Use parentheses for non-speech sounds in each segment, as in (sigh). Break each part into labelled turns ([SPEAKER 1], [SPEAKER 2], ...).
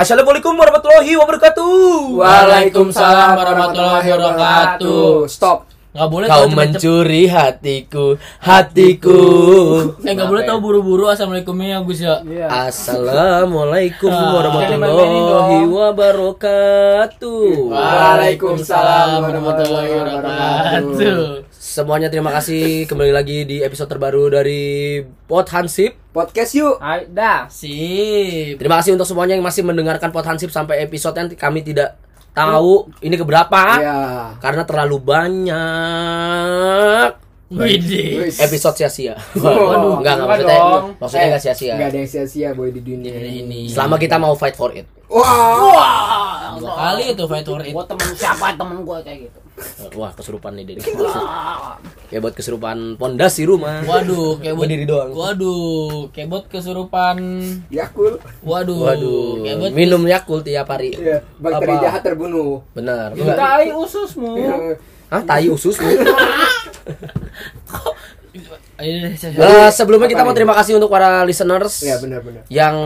[SPEAKER 1] Assalamualaikum warahmatullahi wabarakatuh.
[SPEAKER 2] Waalaikumsalam warahmatullahi wabarakatuh.
[SPEAKER 1] Stop.
[SPEAKER 2] Nggak boleh
[SPEAKER 3] Kau
[SPEAKER 2] tahu cepet-cepet.
[SPEAKER 3] mencuri hatiku, hatiku.
[SPEAKER 2] Eh nggak boleh
[SPEAKER 3] ya.
[SPEAKER 2] tahu buru-buru assalamualaikumnya Gus ya.
[SPEAKER 1] Iya.
[SPEAKER 3] Assalamualaikum
[SPEAKER 2] Ah.
[SPEAKER 3] warahmatullahi
[SPEAKER 1] Jangan main-mainin dong.
[SPEAKER 3] wabarakatuh.
[SPEAKER 1] Waalaikumsalam warahmatullahi wabarakatuh.
[SPEAKER 3] Semuanya terima kasih kembali lagi di episode terbaru dari Pot Hansip.
[SPEAKER 1] Podcast yuk.
[SPEAKER 4] Ayo, dah.
[SPEAKER 2] Sip.
[SPEAKER 3] Terima kasih untuk semuanya yang masih mendengarkan Pot Hansip sampai episode yang kami tidak tahu ini
[SPEAKER 2] Ya.
[SPEAKER 3] keberapa
[SPEAKER 1] Iya.
[SPEAKER 3] karena terlalu banyak
[SPEAKER 2] Widih.
[SPEAKER 3] episode sia-sia.
[SPEAKER 1] (laughs) Waduh,
[SPEAKER 3] enggak enggak
[SPEAKER 4] enggak
[SPEAKER 3] maksudnya
[SPEAKER 4] dong.
[SPEAKER 3] maksudnya enggak sia-sia.
[SPEAKER 1] Enggak ada yang sia-sia boy di dunia ini.
[SPEAKER 2] Ini.
[SPEAKER 3] Selama kita mau fight for it.
[SPEAKER 1] Wah.
[SPEAKER 2] Dua kali itu fight for it.
[SPEAKER 4] Gua temen siapa temen gua kayak gitu.
[SPEAKER 3] Wah, kesurupan nih
[SPEAKER 1] (laughs)
[SPEAKER 3] Deddy. ya buat kesurupan pondasi rumah.
[SPEAKER 2] Waduh, kebot
[SPEAKER 3] Berdiri doang.
[SPEAKER 2] Waduh, kebot kesurupan.
[SPEAKER 1] Yakul.
[SPEAKER 2] Waduh,
[SPEAKER 3] Waduh,
[SPEAKER 2] kebot
[SPEAKER 3] minum Yakult tiap hari.
[SPEAKER 1] Ya, Iya. Bakteri
[SPEAKER 3] Apa?
[SPEAKER 1] jahat terbunuh.
[SPEAKER 3] Benar. lu nggak-
[SPEAKER 4] Cintai ususmu.
[SPEAKER 3] Hah, tai usus
[SPEAKER 1] (laughs)
[SPEAKER 3] lu.
[SPEAKER 1] Iya,
[SPEAKER 2] Eh, saya- saya-
[SPEAKER 3] Eh, sebelumnya kita mau terima kasih untuk para listeners
[SPEAKER 1] Iya benar-benar.
[SPEAKER 3] yang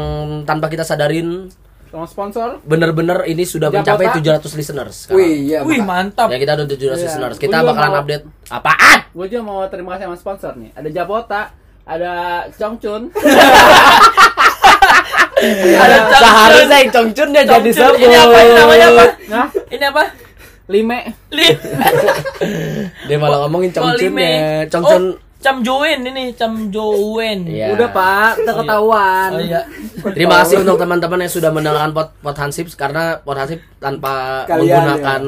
[SPEAKER 3] tanpa kita sadarin
[SPEAKER 4] Tolong sponsor.
[SPEAKER 3] bener-bener ini sudah
[SPEAKER 4] Jam
[SPEAKER 3] mencapai
[SPEAKER 4] apa?
[SPEAKER 3] 700 listeners. sekarang.
[SPEAKER 1] Wih, iya.
[SPEAKER 2] Wih,
[SPEAKER 1] maka-
[SPEAKER 2] mantap.
[SPEAKER 3] Ya kita udah 700
[SPEAKER 4] Iya.
[SPEAKER 3] listeners. Kita
[SPEAKER 4] Gua juga
[SPEAKER 3] bakalan
[SPEAKER 4] mau.
[SPEAKER 3] update apaan?
[SPEAKER 4] Gua juga mau terima kasih sama sponsor nih. Ada Japota, ada (laughs) Chongchun.
[SPEAKER 3] Ada seharusnya yang congcunnya jadi
[SPEAKER 2] Congcun,
[SPEAKER 3] sebut.
[SPEAKER 2] ini apa, ini namanya apa?
[SPEAKER 4] Nah,
[SPEAKER 2] Ini apa?
[SPEAKER 4] Lime.
[SPEAKER 2] Lim.
[SPEAKER 3] Dia malah ngomongin congcunnya. ya, Congcun
[SPEAKER 2] Oh, Cam Joen ini, Cam Joen.
[SPEAKER 3] Iya.
[SPEAKER 4] Udah, Pak, udah ketahuan.
[SPEAKER 2] Oh iya.
[SPEAKER 3] Terima kasih untuk teman-teman yang sudah mendengarkan pot pot Hansip karena pot Hansip tanpa
[SPEAKER 1] Kalian,
[SPEAKER 3] menggunakan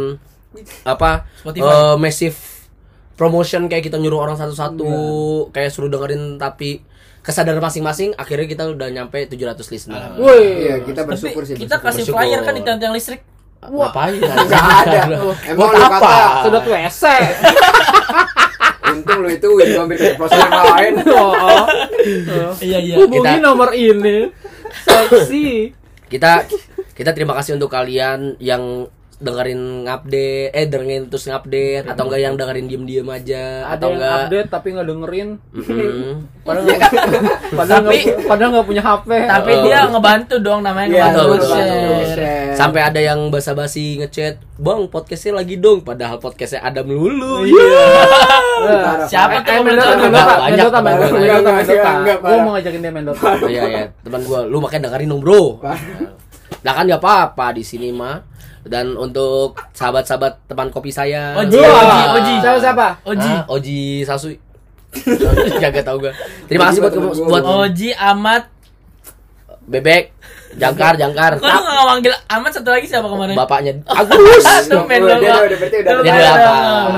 [SPEAKER 3] apa
[SPEAKER 2] Spotify.
[SPEAKER 3] eh, massive promotion kayak kita nyuruh orang satu-satu kayak suruh dengerin tapi kesadaran masing-masing akhirnya kita udah nyampe 700 listener.
[SPEAKER 1] Iya,
[SPEAKER 4] Woi.
[SPEAKER 1] kita
[SPEAKER 2] Tapi
[SPEAKER 1] bersyukur sih.
[SPEAKER 2] kita
[SPEAKER 1] bersyukur.
[SPEAKER 2] kasih
[SPEAKER 3] Bersyukur.
[SPEAKER 2] flyer kan di tiang-tiang listrik.
[SPEAKER 3] Ngapain?
[SPEAKER 1] Nggak ada.
[SPEAKER 3] (laughs)
[SPEAKER 1] Emang
[SPEAKER 3] Buat
[SPEAKER 1] lu
[SPEAKER 3] apa?
[SPEAKER 1] kata
[SPEAKER 4] Sedot WC.
[SPEAKER 1] untung lu itu wih hampir ke proses yang lain.
[SPEAKER 4] Oh,
[SPEAKER 2] Iya, iya.
[SPEAKER 4] Hubungi
[SPEAKER 3] Kita-
[SPEAKER 4] nomor ini. Seksi.
[SPEAKER 3] Kita kita terima kasih untuk kalian yang dengerin ngupdate eh dengerin terus ngupdate atau enggak yang dengerin diem-diem aja
[SPEAKER 4] Ada
[SPEAKER 3] atau
[SPEAKER 4] yang
[SPEAKER 3] enggak
[SPEAKER 4] update tapi nggak dengerin.
[SPEAKER 3] Mm-mm.
[SPEAKER 4] Padahal nggak padahal nggak
[SPEAKER 2] Tapi-
[SPEAKER 4] padahal nggak punya HP.
[SPEAKER 2] Tapi
[SPEAKER 3] Oh.
[SPEAKER 2] dia ngebantu dong namanya
[SPEAKER 4] Ya,
[SPEAKER 1] Iya,
[SPEAKER 2] ngebantu
[SPEAKER 3] betul,
[SPEAKER 2] share.
[SPEAKER 3] betul.
[SPEAKER 1] share.
[SPEAKER 3] Sampai ada yang basa-basi ngechat, "Bang, podcastnya lagi dong." Padahal podcastnya ada melulu.
[SPEAKER 4] Iya.
[SPEAKER 1] Parah, parah.
[SPEAKER 2] Siapa tuh
[SPEAKER 4] Eh,
[SPEAKER 2] Mendota,
[SPEAKER 4] Mendota, Mendota,
[SPEAKER 3] Mendota,
[SPEAKER 4] Mendota,
[SPEAKER 3] banyak, banyak.
[SPEAKER 4] Mendota, Mendota,
[SPEAKER 1] Enggak,
[SPEAKER 4] Mendota.
[SPEAKER 1] enggak,
[SPEAKER 4] Gua
[SPEAKER 1] Pak.
[SPEAKER 4] mau ngajakin dia Mendota.
[SPEAKER 3] Oh, iya ya, teman gua, lu makanya dengerin dong, Bro. Nah, kan nggak apa-apa di sini mah. Dan untuk sahabat-sahabat teman kopi saya.
[SPEAKER 2] Oji,
[SPEAKER 3] Ah,
[SPEAKER 2] Oji, Oji.
[SPEAKER 4] Siapa siapa?
[SPEAKER 2] Oji.
[SPEAKER 3] ah, Oji
[SPEAKER 2] (laughs)
[SPEAKER 3] Sasui. Jaga tahu gua. Terima kasih
[SPEAKER 1] Oji
[SPEAKER 3] buat
[SPEAKER 1] buat temen gua,
[SPEAKER 3] buat
[SPEAKER 1] Bro.
[SPEAKER 2] Oji Amat.
[SPEAKER 3] Bebek, Jangkar, Jangkar.
[SPEAKER 2] Kok lu nggak manggil Amat satu lagi siapa kemarin?
[SPEAKER 3] Bapaknya Agus.
[SPEAKER 2] Satu Mendota.
[SPEAKER 1] Dia udah- berarti udah-
[SPEAKER 3] Dia udah apa?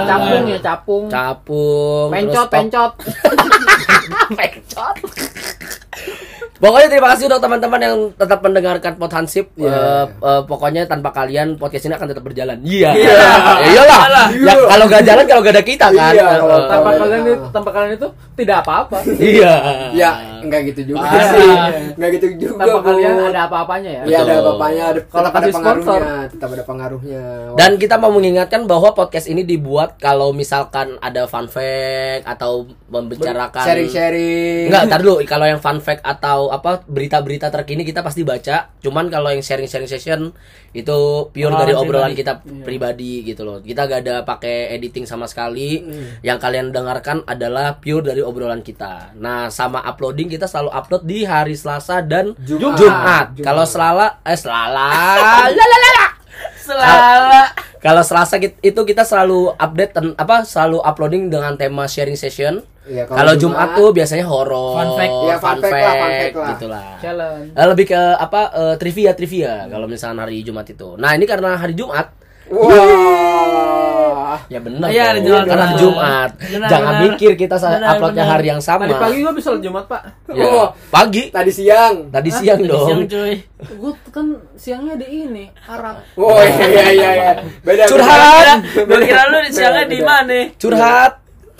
[SPEAKER 4] Capung ya capung.
[SPEAKER 3] Capung. terus
[SPEAKER 4] Pencot,
[SPEAKER 3] Tok-
[SPEAKER 4] pencot.
[SPEAKER 3] Pokoknya terima kasih untuk teman-teman yang tetap mendengarkan Pot Hansip.
[SPEAKER 1] Iya.
[SPEAKER 3] Eh, eh, pokoknya tanpa kalian podcast ini akan tetap berjalan. Iya.
[SPEAKER 2] Iya.
[SPEAKER 3] Ya iyalah.
[SPEAKER 2] Iyalah.
[SPEAKER 3] Ya, kalau gak jalan kalau gak ada kita kan.
[SPEAKER 1] Iya,
[SPEAKER 3] Eh,
[SPEAKER 1] kalau
[SPEAKER 4] Tanpa
[SPEAKER 1] Oh, iya.
[SPEAKER 4] kalian itu, tanpa kalian itu tidak apa-apa.
[SPEAKER 3] Iya.
[SPEAKER 1] Ya, enggak gitu juga
[SPEAKER 3] Ah.
[SPEAKER 2] Parah.
[SPEAKER 1] sih. Enggak gitu juga,
[SPEAKER 4] Tanpa
[SPEAKER 1] Bu.
[SPEAKER 4] kalian ada apa-apanya ya.
[SPEAKER 1] Ya ada
[SPEAKER 3] Betul.
[SPEAKER 1] bapaknya, ada
[SPEAKER 4] Kalau
[SPEAKER 1] tetap ada
[SPEAKER 4] kasih sponsor.
[SPEAKER 1] pengaruhnya, tetap ada pengaruhnya.
[SPEAKER 3] Dan kita mau mengingatkan bahwa podcast ini dibuat kalau misalkan ada fun fact atau membicarakan
[SPEAKER 1] sharing-sharing.
[SPEAKER 3] Enggak, tar dulu. Kalau yang fun fact atau apa berita-berita terkini kita pasti baca. Cuman kalau yang sharing-sharing session itu pure
[SPEAKER 2] Pengalaman
[SPEAKER 3] dari obrolan
[SPEAKER 2] pribadi.
[SPEAKER 3] kita pribadi gitu loh. Kita gak ada pakai editing sama sekali. Yang kalian dengarkan adalah pure dari obrolan kita. Nah, sama uploading kita selalu upload di hari Selasa dan Jumat.
[SPEAKER 1] Jumat. Jumat.
[SPEAKER 3] Kalau Selala eh Selala.
[SPEAKER 2] Selala.
[SPEAKER 3] Kalau Selasa kit- itu kita selalu update ten- apa selalu uploading dengan tema sharing session.
[SPEAKER 1] Iya,
[SPEAKER 3] kalau Jumat, tuh biasanya horor,
[SPEAKER 2] Fun fact.
[SPEAKER 1] Ya, fun fact lah, fun fact lah.
[SPEAKER 3] gitulah.
[SPEAKER 4] Challenge.
[SPEAKER 3] Eh, lebih ke apa eh, trivia trivia kalau misalnya hari Jumat itu. Nah, ini karena hari Jumat
[SPEAKER 1] Wah.
[SPEAKER 3] Ya benar.
[SPEAKER 2] Iya, hari Jumat.
[SPEAKER 3] Karena hari Jumat.
[SPEAKER 2] Benar,
[SPEAKER 3] Jangan
[SPEAKER 2] benar.
[SPEAKER 3] mikir kita sa-
[SPEAKER 2] Benar,
[SPEAKER 3] uploadnya
[SPEAKER 2] benar.
[SPEAKER 3] hari yang sama.
[SPEAKER 4] Tadi pagi gua bisa Jumat, Pak.
[SPEAKER 3] Ya,
[SPEAKER 1] Oh.
[SPEAKER 3] pagi.
[SPEAKER 1] Tadi siang.
[SPEAKER 3] Tadi siang
[SPEAKER 2] Tadi
[SPEAKER 3] dong.
[SPEAKER 2] siang, cuy.
[SPEAKER 4] Gua kan siangnya di ini, Arab.
[SPEAKER 1] Oh iya iya iya. iya. Beda. beda.
[SPEAKER 3] Curhat.
[SPEAKER 2] Gua kira lu di siangnya
[SPEAKER 1] Benar,
[SPEAKER 2] di
[SPEAKER 1] benar.
[SPEAKER 2] mana? (laughs)
[SPEAKER 3] Curhat.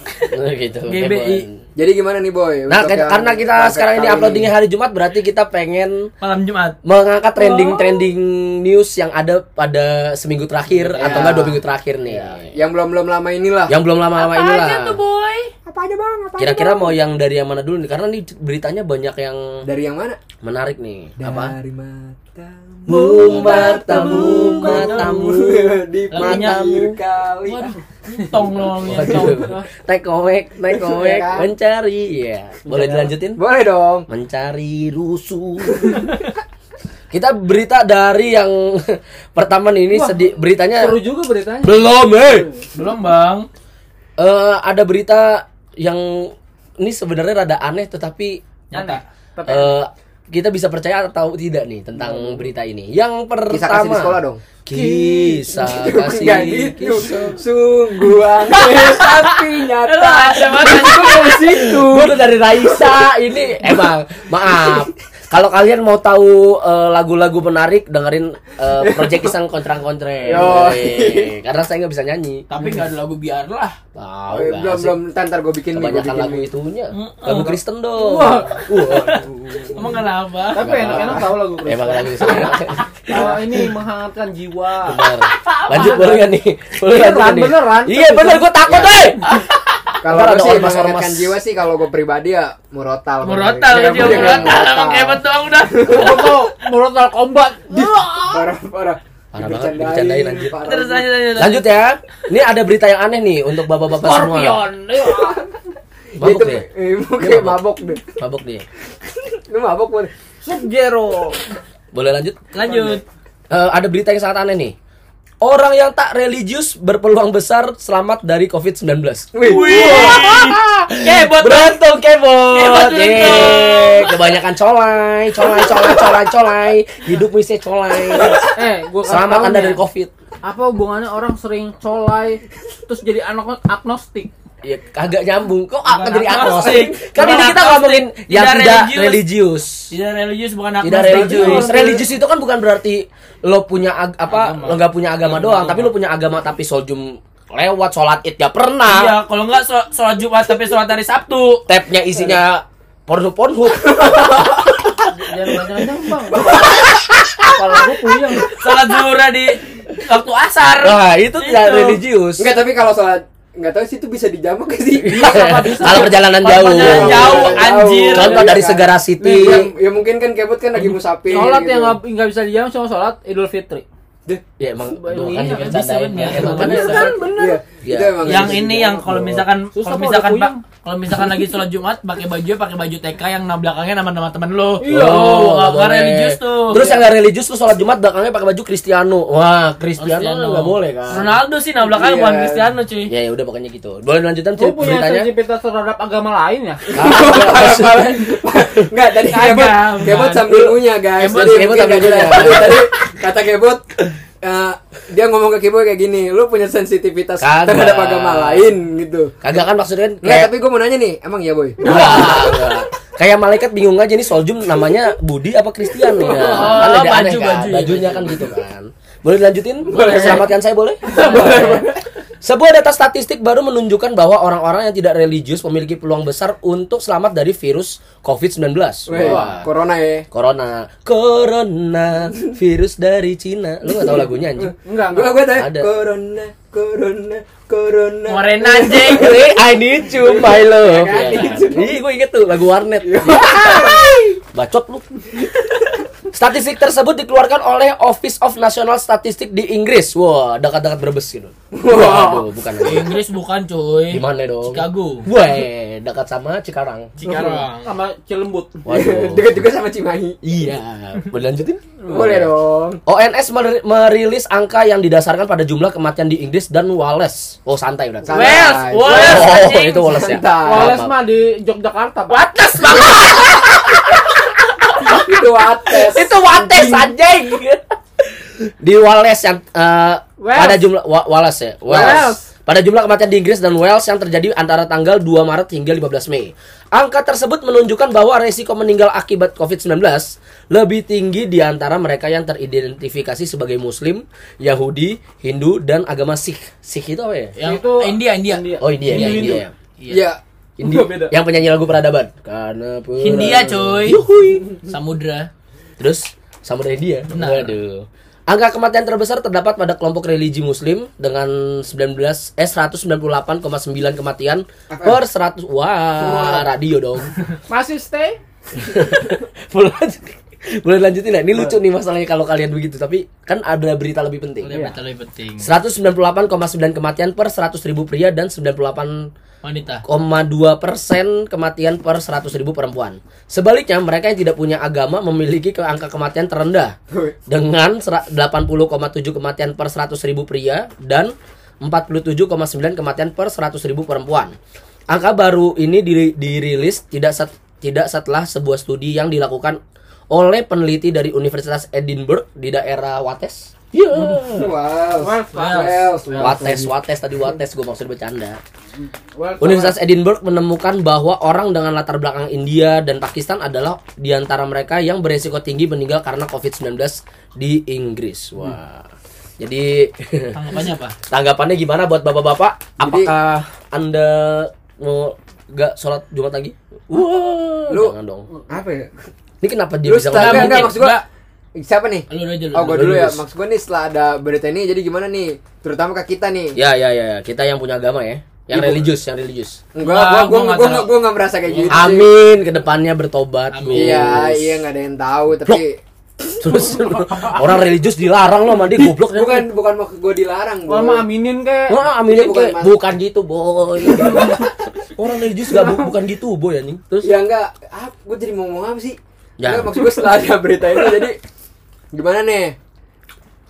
[SPEAKER 3] Nah, gitu.
[SPEAKER 2] GBI.
[SPEAKER 3] Kebohongan.
[SPEAKER 1] Jadi gimana nih, Boy?
[SPEAKER 3] Nah,
[SPEAKER 1] Untuk
[SPEAKER 3] ke-
[SPEAKER 1] yang
[SPEAKER 3] karena kita
[SPEAKER 1] fun fact
[SPEAKER 3] sekarang ini
[SPEAKER 1] kali
[SPEAKER 3] uploadingnya hari Jumat berarti kita pengen
[SPEAKER 2] Malam Jumat.
[SPEAKER 3] mengangkat trending-trending news yang ada pada seminggu terakhir atau enggak dua minggu terakhir nih. Ya.
[SPEAKER 1] yang belum belum lama inilah.
[SPEAKER 3] Yang belum lama-lama inilah.
[SPEAKER 2] boy?
[SPEAKER 1] Apa aja, bang apa
[SPEAKER 3] Kira-kira mau yang dari yang mana dulu nih? Karena nih beritanya banyak yang
[SPEAKER 1] dari yang mana
[SPEAKER 3] menarik nih. Apa?
[SPEAKER 1] dari matamu
[SPEAKER 3] Matamu,
[SPEAKER 1] (laughs)
[SPEAKER 3] matamu.
[SPEAKER 1] di
[SPEAKER 2] Lagunya-
[SPEAKER 1] pinggir kali
[SPEAKER 2] Waduh, tong loh, ya, tong.
[SPEAKER 3] Tekowek, tekowek,
[SPEAKER 1] Iya.
[SPEAKER 3] mencari. Iya. Boleh dilanjutin?
[SPEAKER 1] boleh dong
[SPEAKER 3] mencari rusuh. Kita berita dari yang (laughs) pertama nih, ini sedih beritanya
[SPEAKER 4] Seru juga beritanya.
[SPEAKER 3] belum eh.
[SPEAKER 2] Belum bang.
[SPEAKER 3] Eh, ada berita yang ini sebenarnya rada aneh tetapi
[SPEAKER 2] Nyata.
[SPEAKER 4] Tapi
[SPEAKER 3] eh, kita bisa percaya atau tidak nih tentang
[SPEAKER 2] Hmm.
[SPEAKER 3] berita ini. Yang pertama
[SPEAKER 1] kisah kasih di sekolah dong
[SPEAKER 3] Kisah kasih.
[SPEAKER 1] Nggak gitu
[SPEAKER 3] kisah-
[SPEAKER 1] sungguh
[SPEAKER 2] (laughs)
[SPEAKER 1] aneh tapi nyata Itu dari situ
[SPEAKER 3] Gua udah dari Raisa ini emang maaf. Kalau kalian mau tahu eh, lagu-lagu menarik dengerin eh, Project Isang kontrang kontreng.
[SPEAKER 1] Yoi.
[SPEAKER 3] Karena saya nggak bisa nyanyi.
[SPEAKER 2] Tapi nggak ada lagu biarlah.
[SPEAKER 3] Tahu
[SPEAKER 1] Oh, belum
[SPEAKER 3] nggak sih?
[SPEAKER 1] belum ntar, ntar gue bikin nih, gua
[SPEAKER 3] Kebanyakan
[SPEAKER 1] bikin
[SPEAKER 3] lagu
[SPEAKER 1] nih.
[SPEAKER 3] itunya.
[SPEAKER 2] Mm-mm.
[SPEAKER 3] Lagu Kristen dong.
[SPEAKER 2] Emang kenapa?
[SPEAKER 4] tapi enak-enak tahu lagu Chris.
[SPEAKER 3] Emang lagu Kristen.
[SPEAKER 4] Kalau Oh,
[SPEAKER 3] (laughs)
[SPEAKER 4] ini menghangatkan jiwa.
[SPEAKER 3] Bener. Lanjut boleh nggak nih? Boleh nggak
[SPEAKER 1] Beneran,
[SPEAKER 3] nih?
[SPEAKER 1] beneran.
[SPEAKER 3] Iya bener gue takut
[SPEAKER 1] Ya.
[SPEAKER 3] deh.
[SPEAKER 1] Kalau
[SPEAKER 3] Ntar
[SPEAKER 1] gue
[SPEAKER 3] ada
[SPEAKER 1] sih
[SPEAKER 3] ormas-ormas.
[SPEAKER 1] menghangatkan jiwa sih kalau gue pribadi ya murotal.
[SPEAKER 2] Murotal
[SPEAKER 1] Kira-
[SPEAKER 2] kecil
[SPEAKER 1] kira- kira-
[SPEAKER 2] murotal emang hebat doang udah.
[SPEAKER 4] Murotal, murotal combat.
[SPEAKER 1] Parah parah.
[SPEAKER 3] Parah banget, dibercandain, anjir.
[SPEAKER 1] parah.
[SPEAKER 2] Terus aja
[SPEAKER 3] Lanjut ya. Ini ada berita yang aneh nih untuk bapak-bapak semua.
[SPEAKER 2] Scorpion.
[SPEAKER 3] Mabuk
[SPEAKER 1] Itu
[SPEAKER 3] deh.
[SPEAKER 1] eh, kayak mabok deh.
[SPEAKER 3] Mabuk deh.
[SPEAKER 1] Lu mabok Bun.
[SPEAKER 4] Sub Zero.
[SPEAKER 3] Boleh lanjut?
[SPEAKER 2] Lanjut.
[SPEAKER 3] Eh, ada berita yang sangat aneh nih. Orang yang tak religius berpeluang besar selamat dari COVID-19.
[SPEAKER 1] Wih.
[SPEAKER 2] Eh, buat
[SPEAKER 3] Beruntung kebot.
[SPEAKER 2] Kebot, beruntung.
[SPEAKER 3] Yeay. Kebanyakan colai, colai, colai, colai, colai. Hidup misi colai.
[SPEAKER 4] Eh, gua kasih
[SPEAKER 3] Selamat
[SPEAKER 4] tahu
[SPEAKER 3] Anda
[SPEAKER 4] nih,
[SPEAKER 3] dari COVID.
[SPEAKER 4] Apa hubungannya orang sering colai terus jadi anak agnostik?
[SPEAKER 3] Ya kagak nyambung. Kok aku jadi
[SPEAKER 2] agnostik.
[SPEAKER 3] agnostik? Kan ini
[SPEAKER 2] Bukan
[SPEAKER 3] kita
[SPEAKER 2] agnostik.
[SPEAKER 3] ngomongin yang
[SPEAKER 2] Tidak
[SPEAKER 3] tidak
[SPEAKER 2] religius.
[SPEAKER 3] religius.
[SPEAKER 2] Tidak religius bukan agnostik.
[SPEAKER 3] Tidak religius.
[SPEAKER 4] orang-
[SPEAKER 3] Religius itu kan bukan berarti lo punya ag- apa lo nggak punya
[SPEAKER 2] Iya,
[SPEAKER 3] agama doang, tapi lo punya agama tapi soljum lewat sholat id gak pernah.
[SPEAKER 2] Iya, kalau nggak shol- sholat Jumat tapi sholat hari Sabtu.
[SPEAKER 3] tabnya isinya porno porno
[SPEAKER 2] (laughs) Iya.
[SPEAKER 4] Jangan macam-macam, Bang. Kalau gua puyeng.
[SPEAKER 2] Sholat zuhur di waktu asar.
[SPEAKER 3] (laughs) nah itu tidak
[SPEAKER 2] Itu.
[SPEAKER 3] religius
[SPEAKER 1] Enggak tapi kalau soal enggak tahu sih itu bisa dijamak gak sih?
[SPEAKER 3] (laughs) kalau perjalanan
[SPEAKER 2] Kalau
[SPEAKER 3] jauh
[SPEAKER 2] perjalanan Nah, jauh, anjir.
[SPEAKER 3] Contoh dari Segara City. Hmm.
[SPEAKER 1] Nih, ya, Iya. ya mungkin kan kebut kan lagi musafir.
[SPEAKER 4] Sholat
[SPEAKER 1] gitu.
[SPEAKER 4] yang nggak- nggak bisa diam cuma sholat Idul Fitri.
[SPEAKER 1] Deh,
[SPEAKER 3] ya emang aduh,
[SPEAKER 4] Iya,
[SPEAKER 3] kan
[SPEAKER 4] kan
[SPEAKER 3] bisa
[SPEAKER 2] bisa, bener.
[SPEAKER 3] kan
[SPEAKER 2] Bener.
[SPEAKER 3] bisa.
[SPEAKER 1] Iya.
[SPEAKER 3] Iya. Oh.
[SPEAKER 1] Itu emang
[SPEAKER 2] yang
[SPEAKER 1] bisa
[SPEAKER 2] ini
[SPEAKER 1] dijamak,
[SPEAKER 2] yang kalau
[SPEAKER 1] Bro.
[SPEAKER 2] misalkan kalau
[SPEAKER 4] Susah kalau
[SPEAKER 2] misalkan
[SPEAKER 4] udah
[SPEAKER 2] Pak,
[SPEAKER 4] puyeng.
[SPEAKER 2] kalau misalkan lagi sholat Jumat pakai baju pakai baju TK yang nah belakangnya nama-nama temen lo.
[SPEAKER 4] Iya.
[SPEAKER 3] Oh,
[SPEAKER 2] nggak
[SPEAKER 3] nggak
[SPEAKER 2] bukan
[SPEAKER 3] boleh.
[SPEAKER 2] religius tuh.
[SPEAKER 3] Terus yang nggak religius lu sholat Jumat belakangnya pakai baju Cristiano. Wah, Cristiano
[SPEAKER 2] Cristiano.
[SPEAKER 3] nggak boleh kan?
[SPEAKER 2] Ronaldo sih nama belakangnya
[SPEAKER 1] Iya.
[SPEAKER 2] bukan Cristiano cuy.
[SPEAKER 3] Ya ya udah pokoknya gitu. Boleh lanjutan
[SPEAKER 4] Lu
[SPEAKER 3] cer-
[SPEAKER 4] Oh, punya
[SPEAKER 3] ceritanya?
[SPEAKER 4] sensitivitas terhadap agama lain ya?
[SPEAKER 3] Ah, maksudnya-
[SPEAKER 1] Enggak, tadi
[SPEAKER 2] Kagak,
[SPEAKER 1] kebot,
[SPEAKER 2] bukan.
[SPEAKER 1] kebot sambil punya guys.
[SPEAKER 3] Kebot-
[SPEAKER 1] Tadi
[SPEAKER 3] kebot
[SPEAKER 1] mungkin
[SPEAKER 3] sambil
[SPEAKER 1] nggak
[SPEAKER 3] punya.
[SPEAKER 1] jelas. Tadi kata kebot eh, dia ngomong ke kebot kayak gini, lu punya sensitivitas
[SPEAKER 3] Kagak.
[SPEAKER 1] terhadap agama lain gitu.
[SPEAKER 3] Kagak kan maksudnya kan
[SPEAKER 1] Enggak,
[SPEAKER 3] kayak
[SPEAKER 1] tapi gue mau nanya nih, emang ya boy?
[SPEAKER 3] Wah, enggak. kayak malaikat bingung aja nih Soljum namanya Budi apa Christian
[SPEAKER 2] (laughs)
[SPEAKER 3] nih. Nah,
[SPEAKER 2] Oh,
[SPEAKER 3] kan ada
[SPEAKER 2] baju,
[SPEAKER 3] aneh kan?
[SPEAKER 2] baju.
[SPEAKER 3] Bajunya kan gitu kan. Boleh dilanjutin? Selamatkan saya
[SPEAKER 2] (laughs)
[SPEAKER 3] boleh? Sebuah data statistik baru menunjukkan bahwa orang-orang yang tidak religius memiliki peluang besar untuk selamat dari virus COVID-19.
[SPEAKER 1] Weh,
[SPEAKER 3] Wah.
[SPEAKER 1] corona ya.
[SPEAKER 3] Corona, Corona, virus dari Cina. Lu gak tahu lagunya anjing?
[SPEAKER 1] Gue
[SPEAKER 4] Enggak, enggak.
[SPEAKER 1] gue tanya
[SPEAKER 3] Ada.
[SPEAKER 1] corona, corona, corona.
[SPEAKER 2] Moren anjing.
[SPEAKER 3] I need you, my love.
[SPEAKER 1] I
[SPEAKER 3] Iya,
[SPEAKER 1] need
[SPEAKER 3] kan? Iya. Ih, gue inget tuh lagu warnet. Iya. Bacot lu. Statistik tersebut dikeluarkan oleh Office of National Statistic di Inggris. Wah, dekat-dekat Brebes gitu. Wah, aduh, bukan.
[SPEAKER 2] Di Inggris bukan cuy.
[SPEAKER 3] Di mana dong?
[SPEAKER 2] Chicago.
[SPEAKER 3] Wah, dekat sama Cikarang.
[SPEAKER 2] Cikarang.
[SPEAKER 4] Sama Cilembut.
[SPEAKER 3] Waduh.
[SPEAKER 1] Deket juga sama Cimahi.
[SPEAKER 3] Iya, boleh lanjutin? iya.
[SPEAKER 1] Boleh dong.
[SPEAKER 3] ONS mer- merilis angka yang didasarkan pada jumlah kematian di Inggris dan Wales. Oh, santai udah.
[SPEAKER 1] Santai.
[SPEAKER 2] Wales,
[SPEAKER 1] Santai.
[SPEAKER 2] Wales
[SPEAKER 3] Oh,
[SPEAKER 2] anjing.
[SPEAKER 3] itu Wales ya.
[SPEAKER 1] Santai.
[SPEAKER 3] Maaf,
[SPEAKER 4] Wales
[SPEAKER 3] maaf.
[SPEAKER 4] mah di Yogyakarta, Pak.
[SPEAKER 2] Wates banget.
[SPEAKER 1] Itu ates.
[SPEAKER 3] itu Wates anjing di Wales yang eh,
[SPEAKER 4] Wales.
[SPEAKER 3] pada jumlah Wa- Wales ya Wales.
[SPEAKER 4] Wales.
[SPEAKER 3] pada jumlah kematian di Inggris dan Wales yang terjadi antara tanggal 2 Maret hingga 15 Mei angka tersebut menunjukkan bahwa resiko meninggal akibat COVID-19 lebih tinggi di antara mereka yang teridentifikasi sebagai Muslim Yahudi Hindu dan agama Sikh Sikh itu apa ya
[SPEAKER 2] Yang eh,
[SPEAKER 4] Itu
[SPEAKER 2] India, India.
[SPEAKER 3] oh India ya,
[SPEAKER 4] Hindu.
[SPEAKER 3] India ya.
[SPEAKER 1] Iya.
[SPEAKER 3] India.
[SPEAKER 4] Beda.
[SPEAKER 3] yang penyanyi lagu peradaban karena peradaban.
[SPEAKER 2] Hindia cuy. Samudra.
[SPEAKER 3] Terus Samudra India.
[SPEAKER 2] Benar.
[SPEAKER 3] Waduh. Angka kematian terbesar terdapat pada kelompok religi muslim dengan 19 eh 198,9 kematian per 100 wah radio dong. (laughs)
[SPEAKER 4] Masih stay?
[SPEAKER 3] boleh lanjut- boleh lanjutin ya? Ini lucu nih masalahnya kalau kalian begitu, tapi kan ada berita lebih penting.
[SPEAKER 2] Lebih lebih penting.
[SPEAKER 3] 198,9 kematian per 100 ribu pria dan 98,2
[SPEAKER 2] Wanita.
[SPEAKER 3] persen kematian per 100 ribu perempuan. Sebaliknya, mereka yang tidak punya agama memiliki ke angka kematian terendah dengan sera- 80,7 kematian per 100 ribu pria dan 47,9 kematian per 100 ribu perempuan. Angka baru ini diri- dirilis tidak set- tidak setelah sebuah studi yang dilakukan oleh peneliti dari Universitas Edinburgh di daerah Wates.
[SPEAKER 1] Wow.
[SPEAKER 4] Wales, Pak.
[SPEAKER 1] Wales.
[SPEAKER 3] Wates, Wates tadi Wates gue maksud bercanda.
[SPEAKER 4] Wales,
[SPEAKER 3] Universitas Edinburgh menemukan bahwa orang dengan latar belakang India dan Pakistan adalah di antara mereka yang beresiko tinggi meninggal karena COVID-19 di Inggris. Wah. Jadi (laughs)
[SPEAKER 2] Tanggapannya apa?
[SPEAKER 3] tanggapannya gimana buat bapak-bapak? Apakah Anda mau gak sholat Jumat lagi? Wah,
[SPEAKER 1] Lu-
[SPEAKER 3] jangan dong.
[SPEAKER 1] Apa ya?
[SPEAKER 3] Ini kenapa dia
[SPEAKER 1] Lu
[SPEAKER 3] bisa
[SPEAKER 1] start-
[SPEAKER 3] ngomong?
[SPEAKER 1] enggak, enggak,
[SPEAKER 2] mungkin.
[SPEAKER 1] maksud gua.
[SPEAKER 2] Enggak.
[SPEAKER 1] Siapa nih?
[SPEAKER 2] Lu dulu aja lu.
[SPEAKER 1] Oh, gua dulu ya.
[SPEAKER 3] Dulu.
[SPEAKER 1] Maksud gua nih setelah ada berita ini jadi gimana nih? Terutama ke kita nih.
[SPEAKER 3] Ya, ya, ya, ya. kita yang punya agama ya. Yang religius, yang religius.
[SPEAKER 1] Enggak, gua gua
[SPEAKER 2] Wah, gua nggak
[SPEAKER 1] gua
[SPEAKER 2] tahu.
[SPEAKER 1] gua enggak merasa kayak gitu. sih.
[SPEAKER 3] Amin, kedepannya bertobat.
[SPEAKER 2] Amin.
[SPEAKER 1] Iya,
[SPEAKER 3] Gus.
[SPEAKER 1] iya nggak ada yang tahu tapi
[SPEAKER 3] Terus (laughs) orang religius dilarang loh mandi goblok ya.
[SPEAKER 1] bukan bukan maksud gua dilarang,
[SPEAKER 4] Wah, mah aminin kek.
[SPEAKER 3] Wah,
[SPEAKER 1] Ini
[SPEAKER 3] aminin
[SPEAKER 1] bukan
[SPEAKER 3] kayak
[SPEAKER 1] mas-
[SPEAKER 3] Iya, bukan gitu, boy. (laughs) orang religius gak bu- bukan gitu, boy anjing. Terus
[SPEAKER 1] ya enggak ah gue jadi mau ngomong apa sih
[SPEAKER 3] Ya.
[SPEAKER 1] Enggak, maksud gue setelah ada berita ini jadi gimana nih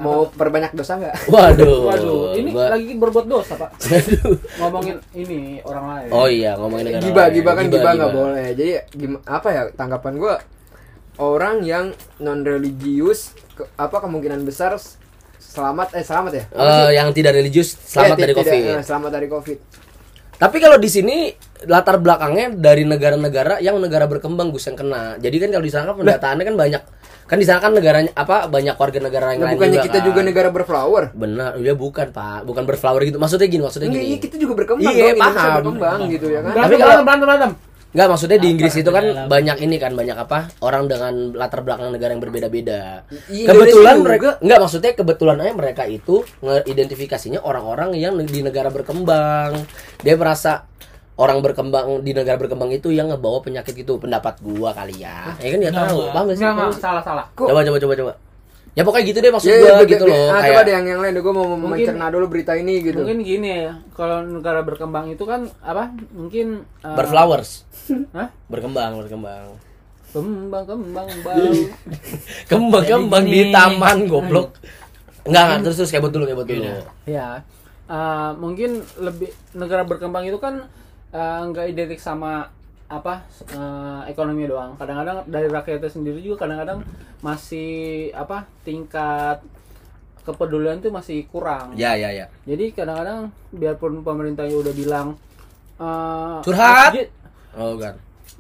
[SPEAKER 1] mau perbanyak dosa nggak
[SPEAKER 3] waduh.
[SPEAKER 4] Waduh, ini
[SPEAKER 3] gua-
[SPEAKER 4] lagi berbuat dosa, Pak.
[SPEAKER 3] Waduh.
[SPEAKER 4] Ngomongin ini orang lain.
[SPEAKER 3] (laughs) Oh iya, ngomongin negara.
[SPEAKER 1] giba
[SPEAKER 3] lain.
[SPEAKER 1] giba kan giba nggak
[SPEAKER 3] giba.
[SPEAKER 1] boleh jadi gim- apa ya tanggapan gue orang yang non religius ke- apa kemungkinan besar s- selamat eh selamat ya
[SPEAKER 3] Eh, yang tidak religius selamat
[SPEAKER 1] Eh, ti-
[SPEAKER 3] dari
[SPEAKER 1] tidak,
[SPEAKER 3] Covid.
[SPEAKER 1] eh, selamat dari covid
[SPEAKER 3] Tapi kalau di sini latar belakangnya dari negara-negara yang negara berkembang Gus yang kena. Jadi kan kalau di sana kan pendataannya kan banyak. Kan di sana kan negaranya apa banyak warga negara yang
[SPEAKER 1] nah,
[SPEAKER 3] lain
[SPEAKER 1] bukannya
[SPEAKER 3] juga
[SPEAKER 1] kita
[SPEAKER 3] kan.
[SPEAKER 1] juga negara berflower
[SPEAKER 3] Benar, ya bukan Pak, bukan berflower gitu. Maksudnya gini, maksudnya
[SPEAKER 1] Enggak,
[SPEAKER 3] gini.
[SPEAKER 1] iya, kita juga berkembang
[SPEAKER 3] Iya,
[SPEAKER 1] dong, Indonesia
[SPEAKER 3] paham.
[SPEAKER 1] berkembang gitu ya kan
[SPEAKER 4] Berantem,
[SPEAKER 3] Tapi kalau-
[SPEAKER 4] berantem, berantem, berantem.
[SPEAKER 3] Enggak, maksudnya di Inggris itu kan
[SPEAKER 2] dalam?
[SPEAKER 3] banyak ini kan banyak apa? Orang dengan latar belakang negara yang berbeda-beda.
[SPEAKER 1] I-
[SPEAKER 3] Kebetulan
[SPEAKER 1] Indonesia
[SPEAKER 3] mereka enggak maksudnya kebetulan aja mereka itu ngeidentifikasinya orang-orang yang di negara berkembang. Dia merasa orang berkembang di negara berkembang itu yang ngebawa penyakit itu pendapat gua kali ya. Ya kan dia
[SPEAKER 2] Enggak,
[SPEAKER 3] tahu,
[SPEAKER 2] enggak.
[SPEAKER 3] paham nggak sih?
[SPEAKER 4] Enggak, enggak, salah, salah.
[SPEAKER 3] Coba coba coba coba. Ya pokoknya gitu deh maksud
[SPEAKER 1] Iya,
[SPEAKER 3] gua
[SPEAKER 1] iya, bi-
[SPEAKER 3] gitu
[SPEAKER 1] bi-
[SPEAKER 3] loh.
[SPEAKER 1] ah, coba
[SPEAKER 3] kayak-
[SPEAKER 1] deh yang yang lain, gue mau
[SPEAKER 4] Mungkin-
[SPEAKER 1] mencerna dulu berita ini gitu.
[SPEAKER 4] Mungkin gini ya, kalau negara berkembang itu kan apa? Mungkin eh,
[SPEAKER 3] berflowers.
[SPEAKER 4] Hah?
[SPEAKER 3] Berkembang, berkembang. (laughs)
[SPEAKER 4] Kembang, kembang, bau.
[SPEAKER 3] Kembang-kembang
[SPEAKER 2] Jadi
[SPEAKER 3] di
[SPEAKER 2] gini.
[SPEAKER 3] taman goblok. Enggak, enggak, terus terus kebut dulu, kebut dulu.
[SPEAKER 4] Ya, eh, mungkin lebih negara berkembang itu kan eh, nggak identik sama apa eh, ekonomi doang. Kadang-kadang dari rakyatnya sendiri juga kadang-kadang masih apa tingkat kepedulian tuh masih kurang.
[SPEAKER 3] Ya, ya, ya.
[SPEAKER 4] Jadi kadang-kadang biarpun pemerintahnya udah bilang eh,
[SPEAKER 3] Curhat!
[SPEAKER 4] masjid- eh,
[SPEAKER 3] Oh, kan.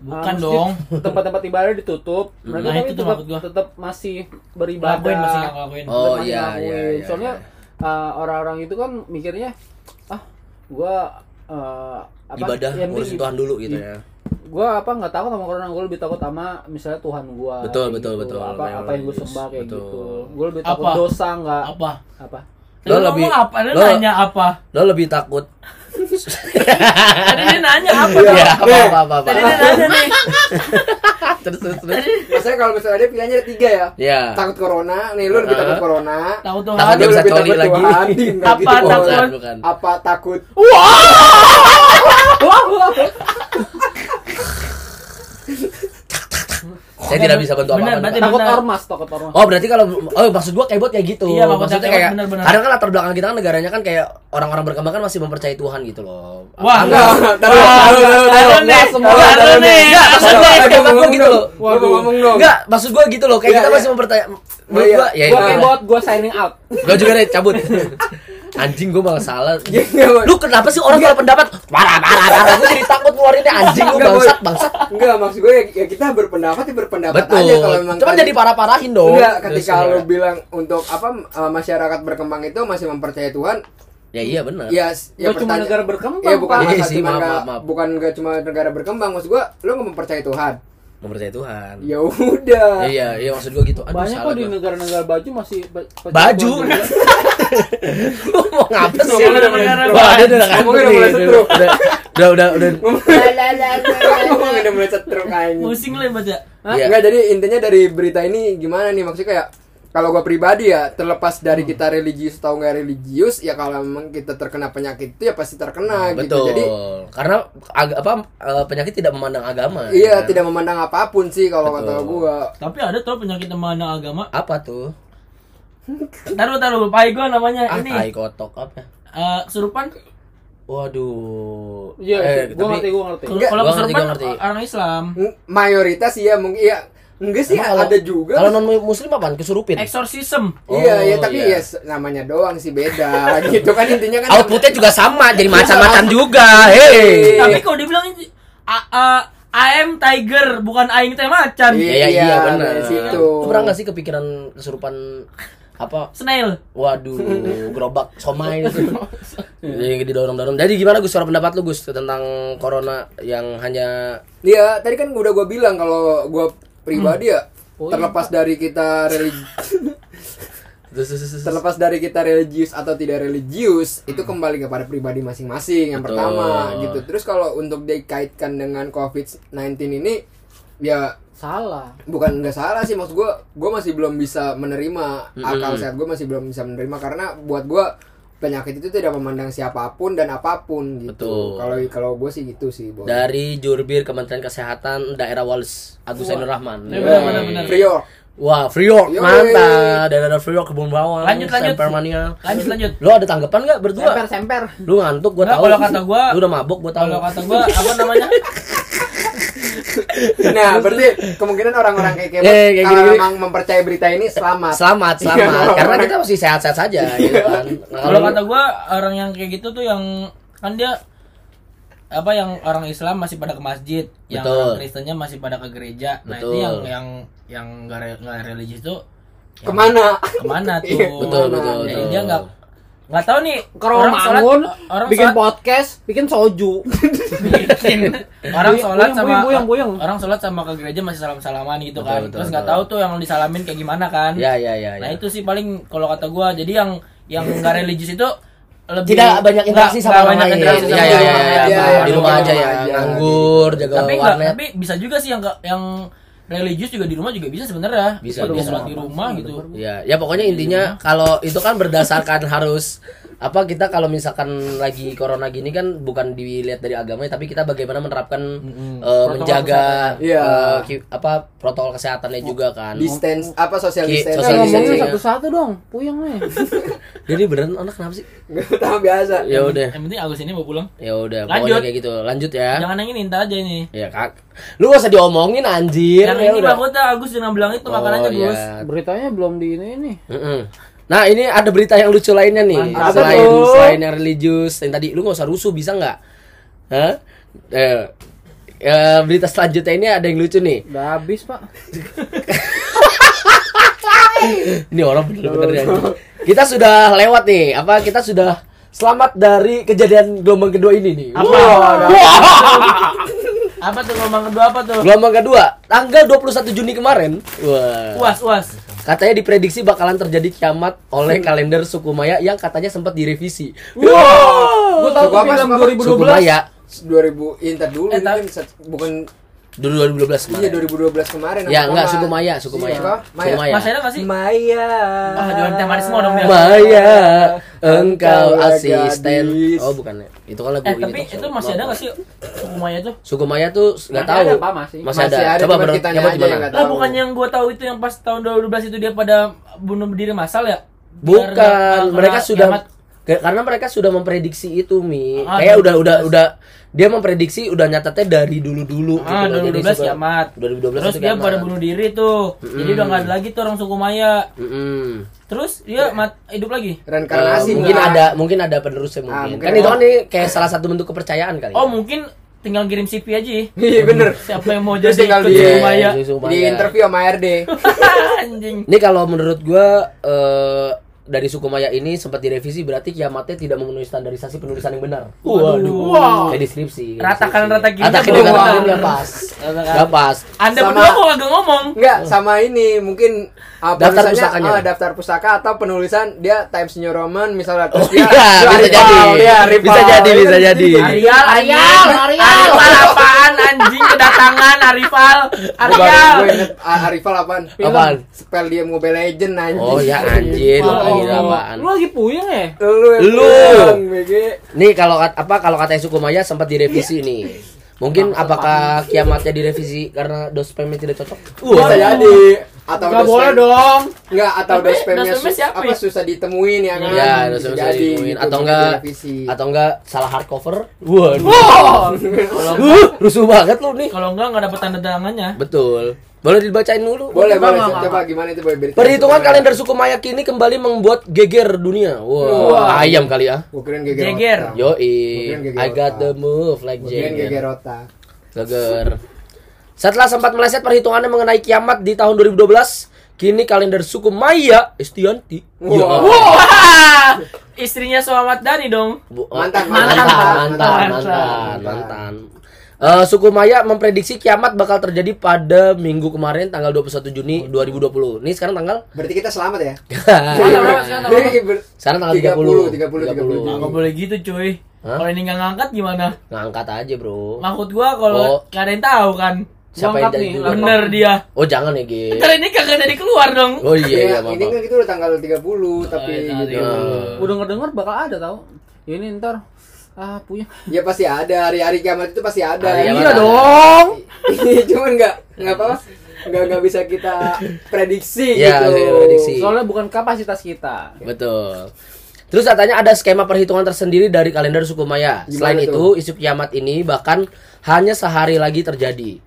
[SPEAKER 2] Bukan
[SPEAKER 4] masjid,
[SPEAKER 2] dong.
[SPEAKER 4] tempat-tempat ibadah ditutup mereka
[SPEAKER 2] Nah,
[SPEAKER 4] tapi
[SPEAKER 2] itu tuh
[SPEAKER 4] tetap,
[SPEAKER 2] maksud gua.
[SPEAKER 4] tetap masih beribadah
[SPEAKER 2] Ngelakuin masih nggak ngelakuin.
[SPEAKER 3] Oh.
[SPEAKER 4] Tetap masih
[SPEAKER 3] iya,
[SPEAKER 4] ngelakuin.
[SPEAKER 3] iya, iya,
[SPEAKER 4] soalnya uh, orang-orang itu kan mikirnya ah gua uh, apa
[SPEAKER 3] Ibadah
[SPEAKER 4] yang
[SPEAKER 3] ngurusin
[SPEAKER 4] penting
[SPEAKER 3] Tuhan dulu gitu
[SPEAKER 4] i-
[SPEAKER 3] ya.
[SPEAKER 4] gua apa nggak takut sama corona gua lebih takut sama misalnya Tuhan gua
[SPEAKER 3] Betul,
[SPEAKER 4] kayak
[SPEAKER 3] betul,
[SPEAKER 4] gitu.
[SPEAKER 3] betul.
[SPEAKER 4] apa
[SPEAKER 3] Kayak
[SPEAKER 4] apa yang gua
[SPEAKER 3] religius.
[SPEAKER 4] sembah kayak
[SPEAKER 3] Betul.
[SPEAKER 4] gitu gua lebih takut
[SPEAKER 2] Apa?
[SPEAKER 4] dosa nggak
[SPEAKER 2] Apa?
[SPEAKER 4] apa (laughs)
[SPEAKER 2] Tadi
[SPEAKER 3] Lo
[SPEAKER 2] Lu
[SPEAKER 3] lebih-
[SPEAKER 2] ngomong apa? Lu
[SPEAKER 3] lo-
[SPEAKER 2] nanya apa?
[SPEAKER 3] Lo lebih takut.
[SPEAKER 2] Tadi dia
[SPEAKER 3] (laughs)
[SPEAKER 2] nanya apa?
[SPEAKER 3] Ya,
[SPEAKER 2] dong?
[SPEAKER 3] apa apa apa. apa.
[SPEAKER 2] Tadi dia nanya nih.
[SPEAKER 3] (laughs) Terus terus terus.
[SPEAKER 1] Maksudnya kalau misalnya dia pilihannya ada tiga ya.
[SPEAKER 3] Ya.
[SPEAKER 1] Takut corona, nih lu lebih
[SPEAKER 3] Heeh.
[SPEAKER 1] takut corona.
[SPEAKER 2] Tahu tuh
[SPEAKER 3] Takut
[SPEAKER 1] lu
[SPEAKER 3] dia bisa
[SPEAKER 1] lebih
[SPEAKER 3] coli
[SPEAKER 1] takut
[SPEAKER 3] lagi.
[SPEAKER 1] Tuhan,
[SPEAKER 2] (laughs)
[SPEAKER 1] ding, nggak
[SPEAKER 2] Apa
[SPEAKER 1] gitu,
[SPEAKER 2] takut?
[SPEAKER 1] Tuhan.
[SPEAKER 3] bukan.
[SPEAKER 1] Apa takut?
[SPEAKER 3] Saya tidak bisa bantu
[SPEAKER 2] Benar, berarti-
[SPEAKER 3] apa-apa.
[SPEAKER 4] takut
[SPEAKER 2] benar.
[SPEAKER 4] ormas takut ormas
[SPEAKER 3] Oh berarti kalau oh maksud gua kebot kayak gitu.
[SPEAKER 2] Iya, maksudnya
[SPEAKER 3] maksudnya
[SPEAKER 2] kebot,
[SPEAKER 3] kayak
[SPEAKER 2] benar-benar.
[SPEAKER 3] kadang kan latar belakang kita kan negaranya kan kayak orang-orang berkembang kan masih mempercayai Tuhan gitu loh.
[SPEAKER 2] Wah,
[SPEAKER 3] Enggak.
[SPEAKER 1] Taruh, taruh, taruh,
[SPEAKER 2] Taruh
[SPEAKER 1] taruh.
[SPEAKER 2] nih,
[SPEAKER 1] Nggak, semua
[SPEAKER 2] taruh
[SPEAKER 1] taruh
[SPEAKER 2] nih.
[SPEAKER 1] nih.
[SPEAKER 2] Nggak,
[SPEAKER 3] maksud
[SPEAKER 1] Taruh,
[SPEAKER 3] gua
[SPEAKER 1] ada
[SPEAKER 3] kayak
[SPEAKER 1] gua
[SPEAKER 3] gua
[SPEAKER 1] ngomong
[SPEAKER 3] gitu
[SPEAKER 1] dong.
[SPEAKER 3] loh.
[SPEAKER 1] Gua mau ngomong dong.
[SPEAKER 3] Enggak, maksud gua gitu loh, kayak
[SPEAKER 1] Iya,
[SPEAKER 3] kita
[SPEAKER 1] iya.
[SPEAKER 3] masih mempercaya menurut
[SPEAKER 1] Iya.
[SPEAKER 3] gua ya
[SPEAKER 4] gua
[SPEAKER 3] itu.
[SPEAKER 4] kebot gua signing out
[SPEAKER 3] Gua juga deh cabut. (laughs) Anjing gua malah salah.
[SPEAKER 1] Iya, nggak, Bang.
[SPEAKER 3] Lu kenapa sih orang kalau pendapat marah marah marah gua jadi takut ngeluarinnya anjing lu
[SPEAKER 1] Iya. Nggak,
[SPEAKER 3] bangsat
[SPEAKER 1] Bang.
[SPEAKER 3] bangsat.
[SPEAKER 1] Enggak, maksud gue ya, ya kita berpendapat ya berpendapat aja
[SPEAKER 3] Betul.
[SPEAKER 1] kalau memang
[SPEAKER 3] Cuma
[SPEAKER 1] tadi-
[SPEAKER 3] jadi parah-parahin dong. Iya.
[SPEAKER 1] Enggak, ketika
[SPEAKER 3] Terus,
[SPEAKER 1] lu bilang untuk apa eh, masyarakat berkembang itu masih mempercayai Tuhan,
[SPEAKER 3] Ya iya benar.
[SPEAKER 1] ya s- ya
[SPEAKER 4] Nggak cuma
[SPEAKER 1] pertanya-
[SPEAKER 4] negara berkembang,
[SPEAKER 1] Iya, bukan
[SPEAKER 4] Pak.
[SPEAKER 1] masalah
[SPEAKER 3] Iya sih,
[SPEAKER 1] cuma
[SPEAKER 3] maaf,
[SPEAKER 1] nggak-
[SPEAKER 3] maaf, maaf.
[SPEAKER 1] bukan nggak cuma negara berkembang maksud gua lu nggak mempercayai Tuhan
[SPEAKER 3] mempercayai Tuhan.
[SPEAKER 1] ya udah (laughs)
[SPEAKER 3] Iya, iya maksud gua gitu. Aduh,
[SPEAKER 4] Banyak
[SPEAKER 3] salah
[SPEAKER 4] kok di
[SPEAKER 3] gua.
[SPEAKER 4] negara-negara baju masih ba-
[SPEAKER 3] Baju.
[SPEAKER 4] juga.
[SPEAKER 3] (laughs) Lu mau ngapa sih?
[SPEAKER 2] Ngomongnya udah mulai ngerem.
[SPEAKER 3] Wah, dia udah
[SPEAKER 1] Ngomongnya udah
[SPEAKER 3] ngantuk
[SPEAKER 1] mulai
[SPEAKER 3] nih.
[SPEAKER 1] setrum.
[SPEAKER 3] Udah, udah, udah, udah.
[SPEAKER 1] Ngomong udah mulai cetruk aja
[SPEAKER 2] Pusing lah baca.
[SPEAKER 4] Hah?
[SPEAKER 3] Iya.
[SPEAKER 1] Enggak, jadi intinya dari berita ini gimana nih maksudnya kayak kalau gua pribadi ya terlepas dari
[SPEAKER 4] Hmm.
[SPEAKER 1] kita religius atau nggak religius ya kalau memang kita terkena penyakit itu ya pasti terkena gitu.
[SPEAKER 3] Betul.
[SPEAKER 1] Jadi
[SPEAKER 3] Karena ag- apa eh, penyakit tidak memandang agama.
[SPEAKER 1] iya
[SPEAKER 3] kan?
[SPEAKER 1] tidak memandang apapun sih kalau kata
[SPEAKER 3] Betul.
[SPEAKER 1] gua.
[SPEAKER 2] Tapi ada tau penyakit mana agama.
[SPEAKER 3] Apa tuh?
[SPEAKER 2] Taruh taruh pai gua namanya
[SPEAKER 3] Ah, tai
[SPEAKER 2] Nah, ini.
[SPEAKER 3] kotok apa?
[SPEAKER 2] Eh, kesurupan
[SPEAKER 3] Waduh.
[SPEAKER 4] Iya,
[SPEAKER 3] Eh, tapi-
[SPEAKER 4] gua ngerti, gua ngerti.
[SPEAKER 2] kalau
[SPEAKER 1] Enggak,
[SPEAKER 2] kalau
[SPEAKER 3] gua ngerti,
[SPEAKER 2] kesurupan
[SPEAKER 3] gua ngerti.
[SPEAKER 2] orang Islam.
[SPEAKER 1] M- Mayoritas iya mungkin iya enggak sih
[SPEAKER 3] Emang kalau-
[SPEAKER 1] ada juga.
[SPEAKER 3] Kalau non muslim apaan? Kesurupin.
[SPEAKER 2] Exorcism.
[SPEAKER 1] iya
[SPEAKER 3] Oh,
[SPEAKER 1] ya tapi
[SPEAKER 3] iya.
[SPEAKER 1] ya s- namanya doang sih beda (laughs) gitu kan intinya kan Iya.
[SPEAKER 3] Outputnya juga sama, jadi macam-macam juga. Hei.
[SPEAKER 2] Tapi kalau dibilang ini, a, a, I am tiger, bukan aing teh macan.
[SPEAKER 3] Iya,
[SPEAKER 1] Iya.
[SPEAKER 3] iya, benar.
[SPEAKER 1] dari situ.
[SPEAKER 3] Lu pernah nggak sih kepikiran kesurupan apa?
[SPEAKER 2] Snail.
[SPEAKER 3] Waduh, gerobak
[SPEAKER 1] (laughs)
[SPEAKER 3] somai gitu. Jadi didorong-dorong. Jadi gimana Gus suara pendapat lu Gus tentang corona yang hanya
[SPEAKER 1] Iya, tadi kan udah gua bilang kalau gua
[SPEAKER 3] Hmm.
[SPEAKER 1] pribadi ya
[SPEAKER 4] Oh, iya,
[SPEAKER 1] terlepas dari kita religi
[SPEAKER 3] (laughs) Terus, terus, terus, terus.
[SPEAKER 1] terlepas dari kita religius atau tidak religius itu kembali kepada pribadi masing-masing yang
[SPEAKER 3] Betul.
[SPEAKER 1] pertama gitu terus kalau untuk dikaitkan dengan covid 19 ini ya
[SPEAKER 4] Salah.
[SPEAKER 1] bukan nggak salah sih maksud gue gue masih belum bisa menerima akal sehat gue masih belum bisa menerima karena buat gue penyakit itu tidak memandang siapapun dan apapun
[SPEAKER 3] Betul.
[SPEAKER 1] gitu kalau kalau gue sih gitu sih Boy.
[SPEAKER 3] dari jubir Kementerian Kesehatan daerah Wallace Agus Ainur Rahman.
[SPEAKER 2] Ya,
[SPEAKER 1] Ya,
[SPEAKER 2] benar, benar, benar.
[SPEAKER 1] Priok.
[SPEAKER 3] Wah, Free York,
[SPEAKER 1] Yoi.
[SPEAKER 3] mantap. Daerah Free York kebun bawang.
[SPEAKER 2] Lanjut, lanjut.
[SPEAKER 3] Sempermania.
[SPEAKER 2] Lanjut lanjut.
[SPEAKER 3] Lu ada tanggapan nggak berdua?
[SPEAKER 4] Semper, semper.
[SPEAKER 3] Lu ngantuk gua
[SPEAKER 2] Nggak,
[SPEAKER 3] tahu.
[SPEAKER 2] kalau kata gua-
[SPEAKER 3] lu udah mabok gua tahu.
[SPEAKER 2] Kalau kata gua apa
[SPEAKER 3] (laughs)
[SPEAKER 2] namanya?
[SPEAKER 1] nah berarti kemungkinan orang-orang kayak kayak
[SPEAKER 3] Eh, kayak
[SPEAKER 1] kalau
[SPEAKER 3] gini-gini.
[SPEAKER 1] memang mempercaya berita ini selamat
[SPEAKER 3] Selamat,
[SPEAKER 1] Iya,
[SPEAKER 2] (laughs)
[SPEAKER 3] selamat.
[SPEAKER 1] orang-
[SPEAKER 3] Karena kita masih sehat-sehat saja gitu kan. Nah,
[SPEAKER 2] Iya. Kalau kata gua orang yang kayak gitu tuh yang kan dia apa yang orang Islam masih pada ke masjid, yang
[SPEAKER 3] Betul.
[SPEAKER 2] orang Kristennya masih pada ke gereja. Nah,
[SPEAKER 3] Betul.
[SPEAKER 2] ini yang yang yang nggak re- nggak religius tuh
[SPEAKER 1] kemana
[SPEAKER 4] (laughs)
[SPEAKER 2] kemana tuh?
[SPEAKER 1] Iya,
[SPEAKER 3] betul, betul,
[SPEAKER 2] Jadi
[SPEAKER 3] betul.
[SPEAKER 2] dia nggak nggak tahu nih
[SPEAKER 4] Kalau bangun,
[SPEAKER 2] orang
[SPEAKER 4] bikin
[SPEAKER 2] sholat,
[SPEAKER 4] podcast, bikin
[SPEAKER 3] (laughs)
[SPEAKER 4] soju.
[SPEAKER 2] bikin
[SPEAKER 4] (laughs)
[SPEAKER 2] orang
[SPEAKER 4] Buyung,
[SPEAKER 2] sholat sama
[SPEAKER 4] buyung, buyung, buyung.
[SPEAKER 2] orang sholat sama ke gereja masih salam salaman gitu
[SPEAKER 3] Betul,
[SPEAKER 2] kan
[SPEAKER 3] betul,
[SPEAKER 2] terus nggak
[SPEAKER 3] betul.
[SPEAKER 2] tahu tuh yang disalamin kayak gimana kan
[SPEAKER 3] ya ya ya.
[SPEAKER 2] nah
[SPEAKER 3] ya.
[SPEAKER 2] itu sih paling kalau kata gua jadi yang yang nggak religius itu lebih
[SPEAKER 3] Tidak banyak interaksi
[SPEAKER 2] nggak-
[SPEAKER 3] sama
[SPEAKER 2] nggak
[SPEAKER 3] orang
[SPEAKER 2] banyak
[SPEAKER 3] lain.
[SPEAKER 2] interaksi sama
[SPEAKER 3] Iya iya
[SPEAKER 2] orang
[SPEAKER 3] iya
[SPEAKER 1] orang
[SPEAKER 3] iya.
[SPEAKER 1] lain.
[SPEAKER 3] Iya,
[SPEAKER 1] Iya,
[SPEAKER 3] Di
[SPEAKER 1] iya,
[SPEAKER 3] rumah
[SPEAKER 1] iya,
[SPEAKER 3] aja
[SPEAKER 1] iya,
[SPEAKER 3] ya,
[SPEAKER 1] iya.
[SPEAKER 3] nganggur, jaga
[SPEAKER 2] tapi nggak
[SPEAKER 3] warnet.
[SPEAKER 2] tapi bisa juga sih yang nggak- yang religius juga di rumah juga bisa sebenarnya
[SPEAKER 3] Bisa,
[SPEAKER 2] Dia
[SPEAKER 3] bisa.
[SPEAKER 2] sholat di rumah gitu
[SPEAKER 3] Ya, ya pokoknya
[SPEAKER 2] Iya.
[SPEAKER 3] intinya kalau itu kan berdasarkan (laughs) harus apa kita kalau misalkan lagi corona gini kan bukan dilihat dari agamanya tapi kita bagaimana menerapkan eh, menjaga
[SPEAKER 1] Iya.
[SPEAKER 3] eh, ki- apa protokol kesehatannya juga kan.
[SPEAKER 1] distance apa
[SPEAKER 3] Ki-
[SPEAKER 1] social
[SPEAKER 3] social
[SPEAKER 1] distance
[SPEAKER 4] Kita ngomongin
[SPEAKER 3] distancing, ya.
[SPEAKER 4] Eh, satu-satu dong, puyeng
[SPEAKER 3] (laughs)
[SPEAKER 4] nih.
[SPEAKER 3] Jadi beneran anak kenapa sih?
[SPEAKER 1] (laughs) Nggak tahu biasa
[SPEAKER 3] Ya udah,
[SPEAKER 2] yang penting Agus ini mau pulang
[SPEAKER 3] ya udah pokoknya
[SPEAKER 2] Lanjut.
[SPEAKER 3] kayak gitu. Lanjut ya.
[SPEAKER 2] jangan yang ini ntar aja ini
[SPEAKER 3] Ya kak, lu gak usah diomongin anjir.
[SPEAKER 2] yang
[SPEAKER 3] Ya
[SPEAKER 2] ini
[SPEAKER 3] udah.
[SPEAKER 2] mahkota Agus jangan bilang itu makan
[SPEAKER 3] Oh,
[SPEAKER 2] aja
[SPEAKER 3] iya.
[SPEAKER 2] Gus
[SPEAKER 4] Beritanya belum di ini nih.
[SPEAKER 3] Mm-mm. Nah ini ada berita yang lucu lainnya nih
[SPEAKER 4] Mantap.
[SPEAKER 3] selain
[SPEAKER 4] Apa tuh?
[SPEAKER 3] selain yang religius yang tadi lu nggak usah rusuh bisa nggak? Hah? Eh, eh, berita selanjutnya ini ada yang lucu nih. (laughs)
[SPEAKER 4] Udah habis, Pak.
[SPEAKER 3] Ini orang bener-bener
[SPEAKER 2] (laughs)
[SPEAKER 3] ya. Kita sudah lewat nih. Apa kita sudah selamat dari kejadian gelombang kedua ini nih?
[SPEAKER 2] Apa?
[SPEAKER 3] Wah.
[SPEAKER 2] apa tuh ngomong kedua apa tuh
[SPEAKER 3] Gelombang kedua tanggal 21 Juni kemarin. Wah.
[SPEAKER 2] uas uas
[SPEAKER 3] Katanya diprediksi bakalan terjadi kiamat oleh kalender suku Maya yang katanya sempat direvisi.
[SPEAKER 4] Gua tahu
[SPEAKER 1] Suku
[SPEAKER 4] tuh
[SPEAKER 1] apa,
[SPEAKER 4] film
[SPEAKER 1] suku apa?
[SPEAKER 3] Suku
[SPEAKER 4] 2012.
[SPEAKER 3] Maya
[SPEAKER 1] 2000 ini ntar dulu
[SPEAKER 2] Eh,
[SPEAKER 1] ini
[SPEAKER 2] tapi-
[SPEAKER 1] kan sat- bukan
[SPEAKER 3] dulu 2012 kemarin.
[SPEAKER 1] iya 2012 kemarin
[SPEAKER 3] Ya
[SPEAKER 1] apa
[SPEAKER 3] enggak
[SPEAKER 1] Koman?
[SPEAKER 3] suku Maya, suku
[SPEAKER 1] Iya,
[SPEAKER 3] Maya.
[SPEAKER 1] apa?
[SPEAKER 3] Suku Maya.
[SPEAKER 2] Mas Eda masih
[SPEAKER 1] Maya.
[SPEAKER 2] Ah, jualan teh manis semua dong dia.
[SPEAKER 3] Maya, engkau
[SPEAKER 1] Engkau
[SPEAKER 3] asisten.
[SPEAKER 1] gadis.
[SPEAKER 3] Oh bukan ya. Itu kan lagu
[SPEAKER 2] eh
[SPEAKER 3] ini
[SPEAKER 2] tapi
[SPEAKER 3] tuh,
[SPEAKER 2] itu
[SPEAKER 3] suku-
[SPEAKER 2] masih ada
[SPEAKER 3] maaf.
[SPEAKER 2] nggak sih suku Maya tuh
[SPEAKER 3] Suku Maya tuh enggak
[SPEAKER 4] Masih
[SPEAKER 3] tahu.
[SPEAKER 4] ada, Pak, masih.
[SPEAKER 3] Masih ada.
[SPEAKER 1] Masih ada,
[SPEAKER 3] Coba
[SPEAKER 1] cuman
[SPEAKER 3] ber-
[SPEAKER 1] kitanya
[SPEAKER 3] coba
[SPEAKER 1] aja
[SPEAKER 3] gimana?
[SPEAKER 1] yang nggak
[SPEAKER 2] Lah
[SPEAKER 1] Tahu.
[SPEAKER 2] bukan yang gua tahu itu yang pas tahun 2012 itu dia pada bunuh diri massal ya?
[SPEAKER 3] Bukan,
[SPEAKER 2] Biar nggak- nggak
[SPEAKER 3] mereka
[SPEAKER 2] kena
[SPEAKER 3] sudah
[SPEAKER 2] eh, kiamat.
[SPEAKER 3] Ke- karena mereka sudah memprediksi itu Mi.
[SPEAKER 2] Ah,
[SPEAKER 3] Kayak udah
[SPEAKER 2] 2012.
[SPEAKER 3] udah udah dia memprediksi udah nyatetnya dari dulu-dulu gitu
[SPEAKER 2] Ah,
[SPEAKER 3] loh. Jadi
[SPEAKER 2] 2012
[SPEAKER 3] suka-
[SPEAKER 2] kiamat.
[SPEAKER 3] 2012
[SPEAKER 2] Terus
[SPEAKER 3] itu
[SPEAKER 2] dia
[SPEAKER 3] kiamat. Mm.
[SPEAKER 2] pada bunuh diri tuh. Jadi udah nggak ada lagi tuh orang suku Maya.
[SPEAKER 3] Mm-mm.
[SPEAKER 2] Terus
[SPEAKER 3] Iya.
[SPEAKER 2] dia mat- hidup lagi.
[SPEAKER 1] Reinkarnasi
[SPEAKER 3] Eh, mungkin
[SPEAKER 1] Mbak.
[SPEAKER 3] ada mungkin ada penerusnya mungkin.
[SPEAKER 1] mungkin
[SPEAKER 3] kan
[SPEAKER 1] ada.
[SPEAKER 3] itu kan ini kayak salah satu bentuk kepercayaan kali. ya.
[SPEAKER 2] Oh, mungkin tinggal kirim CV aja. (laughs) ya.
[SPEAKER 1] (laughs) Iya bener.
[SPEAKER 2] Siapa yang mau
[SPEAKER 1] Terus
[SPEAKER 2] jadi
[SPEAKER 1] tinggal
[SPEAKER 2] ikut
[SPEAKER 1] di-
[SPEAKER 2] suku
[SPEAKER 1] Iya,
[SPEAKER 2] Maya?
[SPEAKER 3] Suku
[SPEAKER 1] Di
[SPEAKER 3] Maya.
[SPEAKER 1] interview sama RD.
[SPEAKER 2] Anjing.
[SPEAKER 3] Ini kalau menurut gua eh, dari suku Maya ini sempat direvisi berarti kiamatnya tidak memenuhi standarisasi penulisan yang benar.
[SPEAKER 2] Waduh.
[SPEAKER 3] Waduh. Kayak deskripsi.
[SPEAKER 2] Ratakan rata kiri,
[SPEAKER 3] Rata kiri
[SPEAKER 2] bawah.
[SPEAKER 3] rata kiri udah pas. Gak pas.
[SPEAKER 2] Anda
[SPEAKER 1] Sama-
[SPEAKER 2] berdua kok kagak ngomong?
[SPEAKER 1] Enggak, sama ini mungkin ah,
[SPEAKER 3] Oh. Daftar
[SPEAKER 1] penulisannya,
[SPEAKER 3] pusakanya.
[SPEAKER 1] ah, daftar pusaka atau penulisan dia Times New Roman misalnya
[SPEAKER 3] Oh
[SPEAKER 1] terus dia,
[SPEAKER 3] (laughs) iya,
[SPEAKER 1] dia
[SPEAKER 3] bisa jadi.
[SPEAKER 1] rival, dia rival.
[SPEAKER 3] Bisa jadi,
[SPEAKER 1] Iya
[SPEAKER 3] bisa
[SPEAKER 1] kan?
[SPEAKER 3] jadi.
[SPEAKER 2] Arial, Arial, Arial, apaan anjing kedatangan Arifal,
[SPEAKER 1] Baru
[SPEAKER 2] Arial.
[SPEAKER 1] gue inget ah, rival apaan? Film.
[SPEAKER 3] Apaan?
[SPEAKER 1] Spell dia Mobile Legend anjing.
[SPEAKER 3] Oh ya anjir, lu
[SPEAKER 4] Oh,
[SPEAKER 3] kira apaan? Eh.
[SPEAKER 4] Lu lagi puyeng ya?
[SPEAKER 1] Lu yang
[SPEAKER 3] Lu.
[SPEAKER 1] bilang, BG.
[SPEAKER 3] Nih kalau kat- apa kalau kata suku Maya sempat
[SPEAKER 1] Iya.
[SPEAKER 3] direvisi nih. Mungkin
[SPEAKER 1] Nah,
[SPEAKER 3] apakah kiamatnya direvisi karena dos payment tidak cocok?
[SPEAKER 1] Uh, Bisa jadi atau
[SPEAKER 4] Gak
[SPEAKER 1] dos
[SPEAKER 4] boleh
[SPEAKER 1] spam-
[SPEAKER 4] dong.
[SPEAKER 1] Enggak, atau
[SPEAKER 2] Tapi
[SPEAKER 1] dos spamnya
[SPEAKER 2] dos spamnya
[SPEAKER 1] sus-
[SPEAKER 2] siapa
[SPEAKER 1] apa
[SPEAKER 2] ya?
[SPEAKER 1] susah ditemuin ya kan?
[SPEAKER 3] Ya, dos
[SPEAKER 1] Bisa
[SPEAKER 3] payment
[SPEAKER 1] jadi,
[SPEAKER 3] ditemuin.
[SPEAKER 1] gitu,
[SPEAKER 3] atau
[SPEAKER 1] bisa
[SPEAKER 3] enggak
[SPEAKER 1] direvisi.
[SPEAKER 3] atau enggak salah hardcover? Waduh.
[SPEAKER 4] Oh,
[SPEAKER 3] Uh, rusuh banget lu nih.
[SPEAKER 2] Kalau enggak enggak dapat tanda tangannya. (laughs)
[SPEAKER 3] Betul. Boleh dibacain dulu.
[SPEAKER 1] boleh
[SPEAKER 4] Coba,
[SPEAKER 1] boleh
[SPEAKER 4] Mama.
[SPEAKER 1] coba gimana itu boleh beritain.
[SPEAKER 3] Perhitungan kalender suku Maya kini kembali membuat geger dunia. Wow,
[SPEAKER 1] Wah.
[SPEAKER 3] ayam kali ya.
[SPEAKER 1] Gua kirain geger.
[SPEAKER 2] Geger.
[SPEAKER 1] otak.
[SPEAKER 3] Yoi,
[SPEAKER 1] Mungkin geger
[SPEAKER 3] I got
[SPEAKER 1] otak.
[SPEAKER 3] the move like
[SPEAKER 1] Gua kirain
[SPEAKER 3] James.
[SPEAKER 1] geger otak.
[SPEAKER 3] Geger. Setelah sempat meleset perhitungannya mengenai kiamat di tahun 2012, kini kalender suku Maya Estianti.
[SPEAKER 1] Wow.
[SPEAKER 3] Ya.
[SPEAKER 1] Wow.
[SPEAKER 2] Wah, istrinya Selamat Dani dong.
[SPEAKER 3] Bu- eh,
[SPEAKER 1] Mantan,
[SPEAKER 3] mantan,
[SPEAKER 1] mantan,
[SPEAKER 3] mantan, mantan,
[SPEAKER 1] mantan,
[SPEAKER 3] mantan.
[SPEAKER 1] mantan.
[SPEAKER 3] Eh, suku Maya memprediksi kiamat bakal terjadi pada minggu kemarin tanggal 21 Juni 2020. Nih sekarang tanggal
[SPEAKER 1] Berarti kita selamat ya?
[SPEAKER 2] Sekarang
[SPEAKER 3] Sekarang tanggal
[SPEAKER 1] 30,
[SPEAKER 3] 30.
[SPEAKER 1] 30,
[SPEAKER 3] 30.
[SPEAKER 1] Iya,
[SPEAKER 2] Nggak boleh gitu cuy.
[SPEAKER 3] Hah?
[SPEAKER 2] Kalau ini nggak ngangkat gimana?
[SPEAKER 3] (laughs) Ngangkat aja, Bro.
[SPEAKER 2] Maksud gua kalau
[SPEAKER 3] Oh. Iya,
[SPEAKER 2] nggak ada yang tahu kan.
[SPEAKER 3] Siapa yang
[SPEAKER 4] Ngangkat
[SPEAKER 3] jadi
[SPEAKER 4] nih,
[SPEAKER 3] duluan?
[SPEAKER 2] Bener dia.
[SPEAKER 3] Oh, jangan ya, Ge.
[SPEAKER 2] Ntar ini kagak jadi keluar dong.
[SPEAKER 3] Oh iya, iya,
[SPEAKER 1] ini
[SPEAKER 3] maaf.
[SPEAKER 1] kan kita udah tanggal 30 tapi
[SPEAKER 3] Iya,
[SPEAKER 2] Eh, tadi.
[SPEAKER 1] gitu.
[SPEAKER 4] udah ngedenger bakal ada tau. Ya Ini ntar ah puyeng.
[SPEAKER 1] Ya pasti ada hari-hari kiamat itu pasti ada.
[SPEAKER 3] Hari
[SPEAKER 1] Iya
[SPEAKER 3] kiamat ada.
[SPEAKER 1] dong. (laughs) Cuman nggak nggak apa nggak nggak bisa kita prediksi
[SPEAKER 3] Iya,
[SPEAKER 1] gitu.
[SPEAKER 3] bisa kita prediksi.
[SPEAKER 4] Soalnya bukan kapasitas kita.
[SPEAKER 3] Iya. Betul. Terus katanya ada skema perhitungan tersendiri dari kalender suku Maya.
[SPEAKER 1] Gimana
[SPEAKER 3] Selain itu,
[SPEAKER 1] tuh?
[SPEAKER 3] isu kiamat ini bahkan hanya sehari lagi terjadi.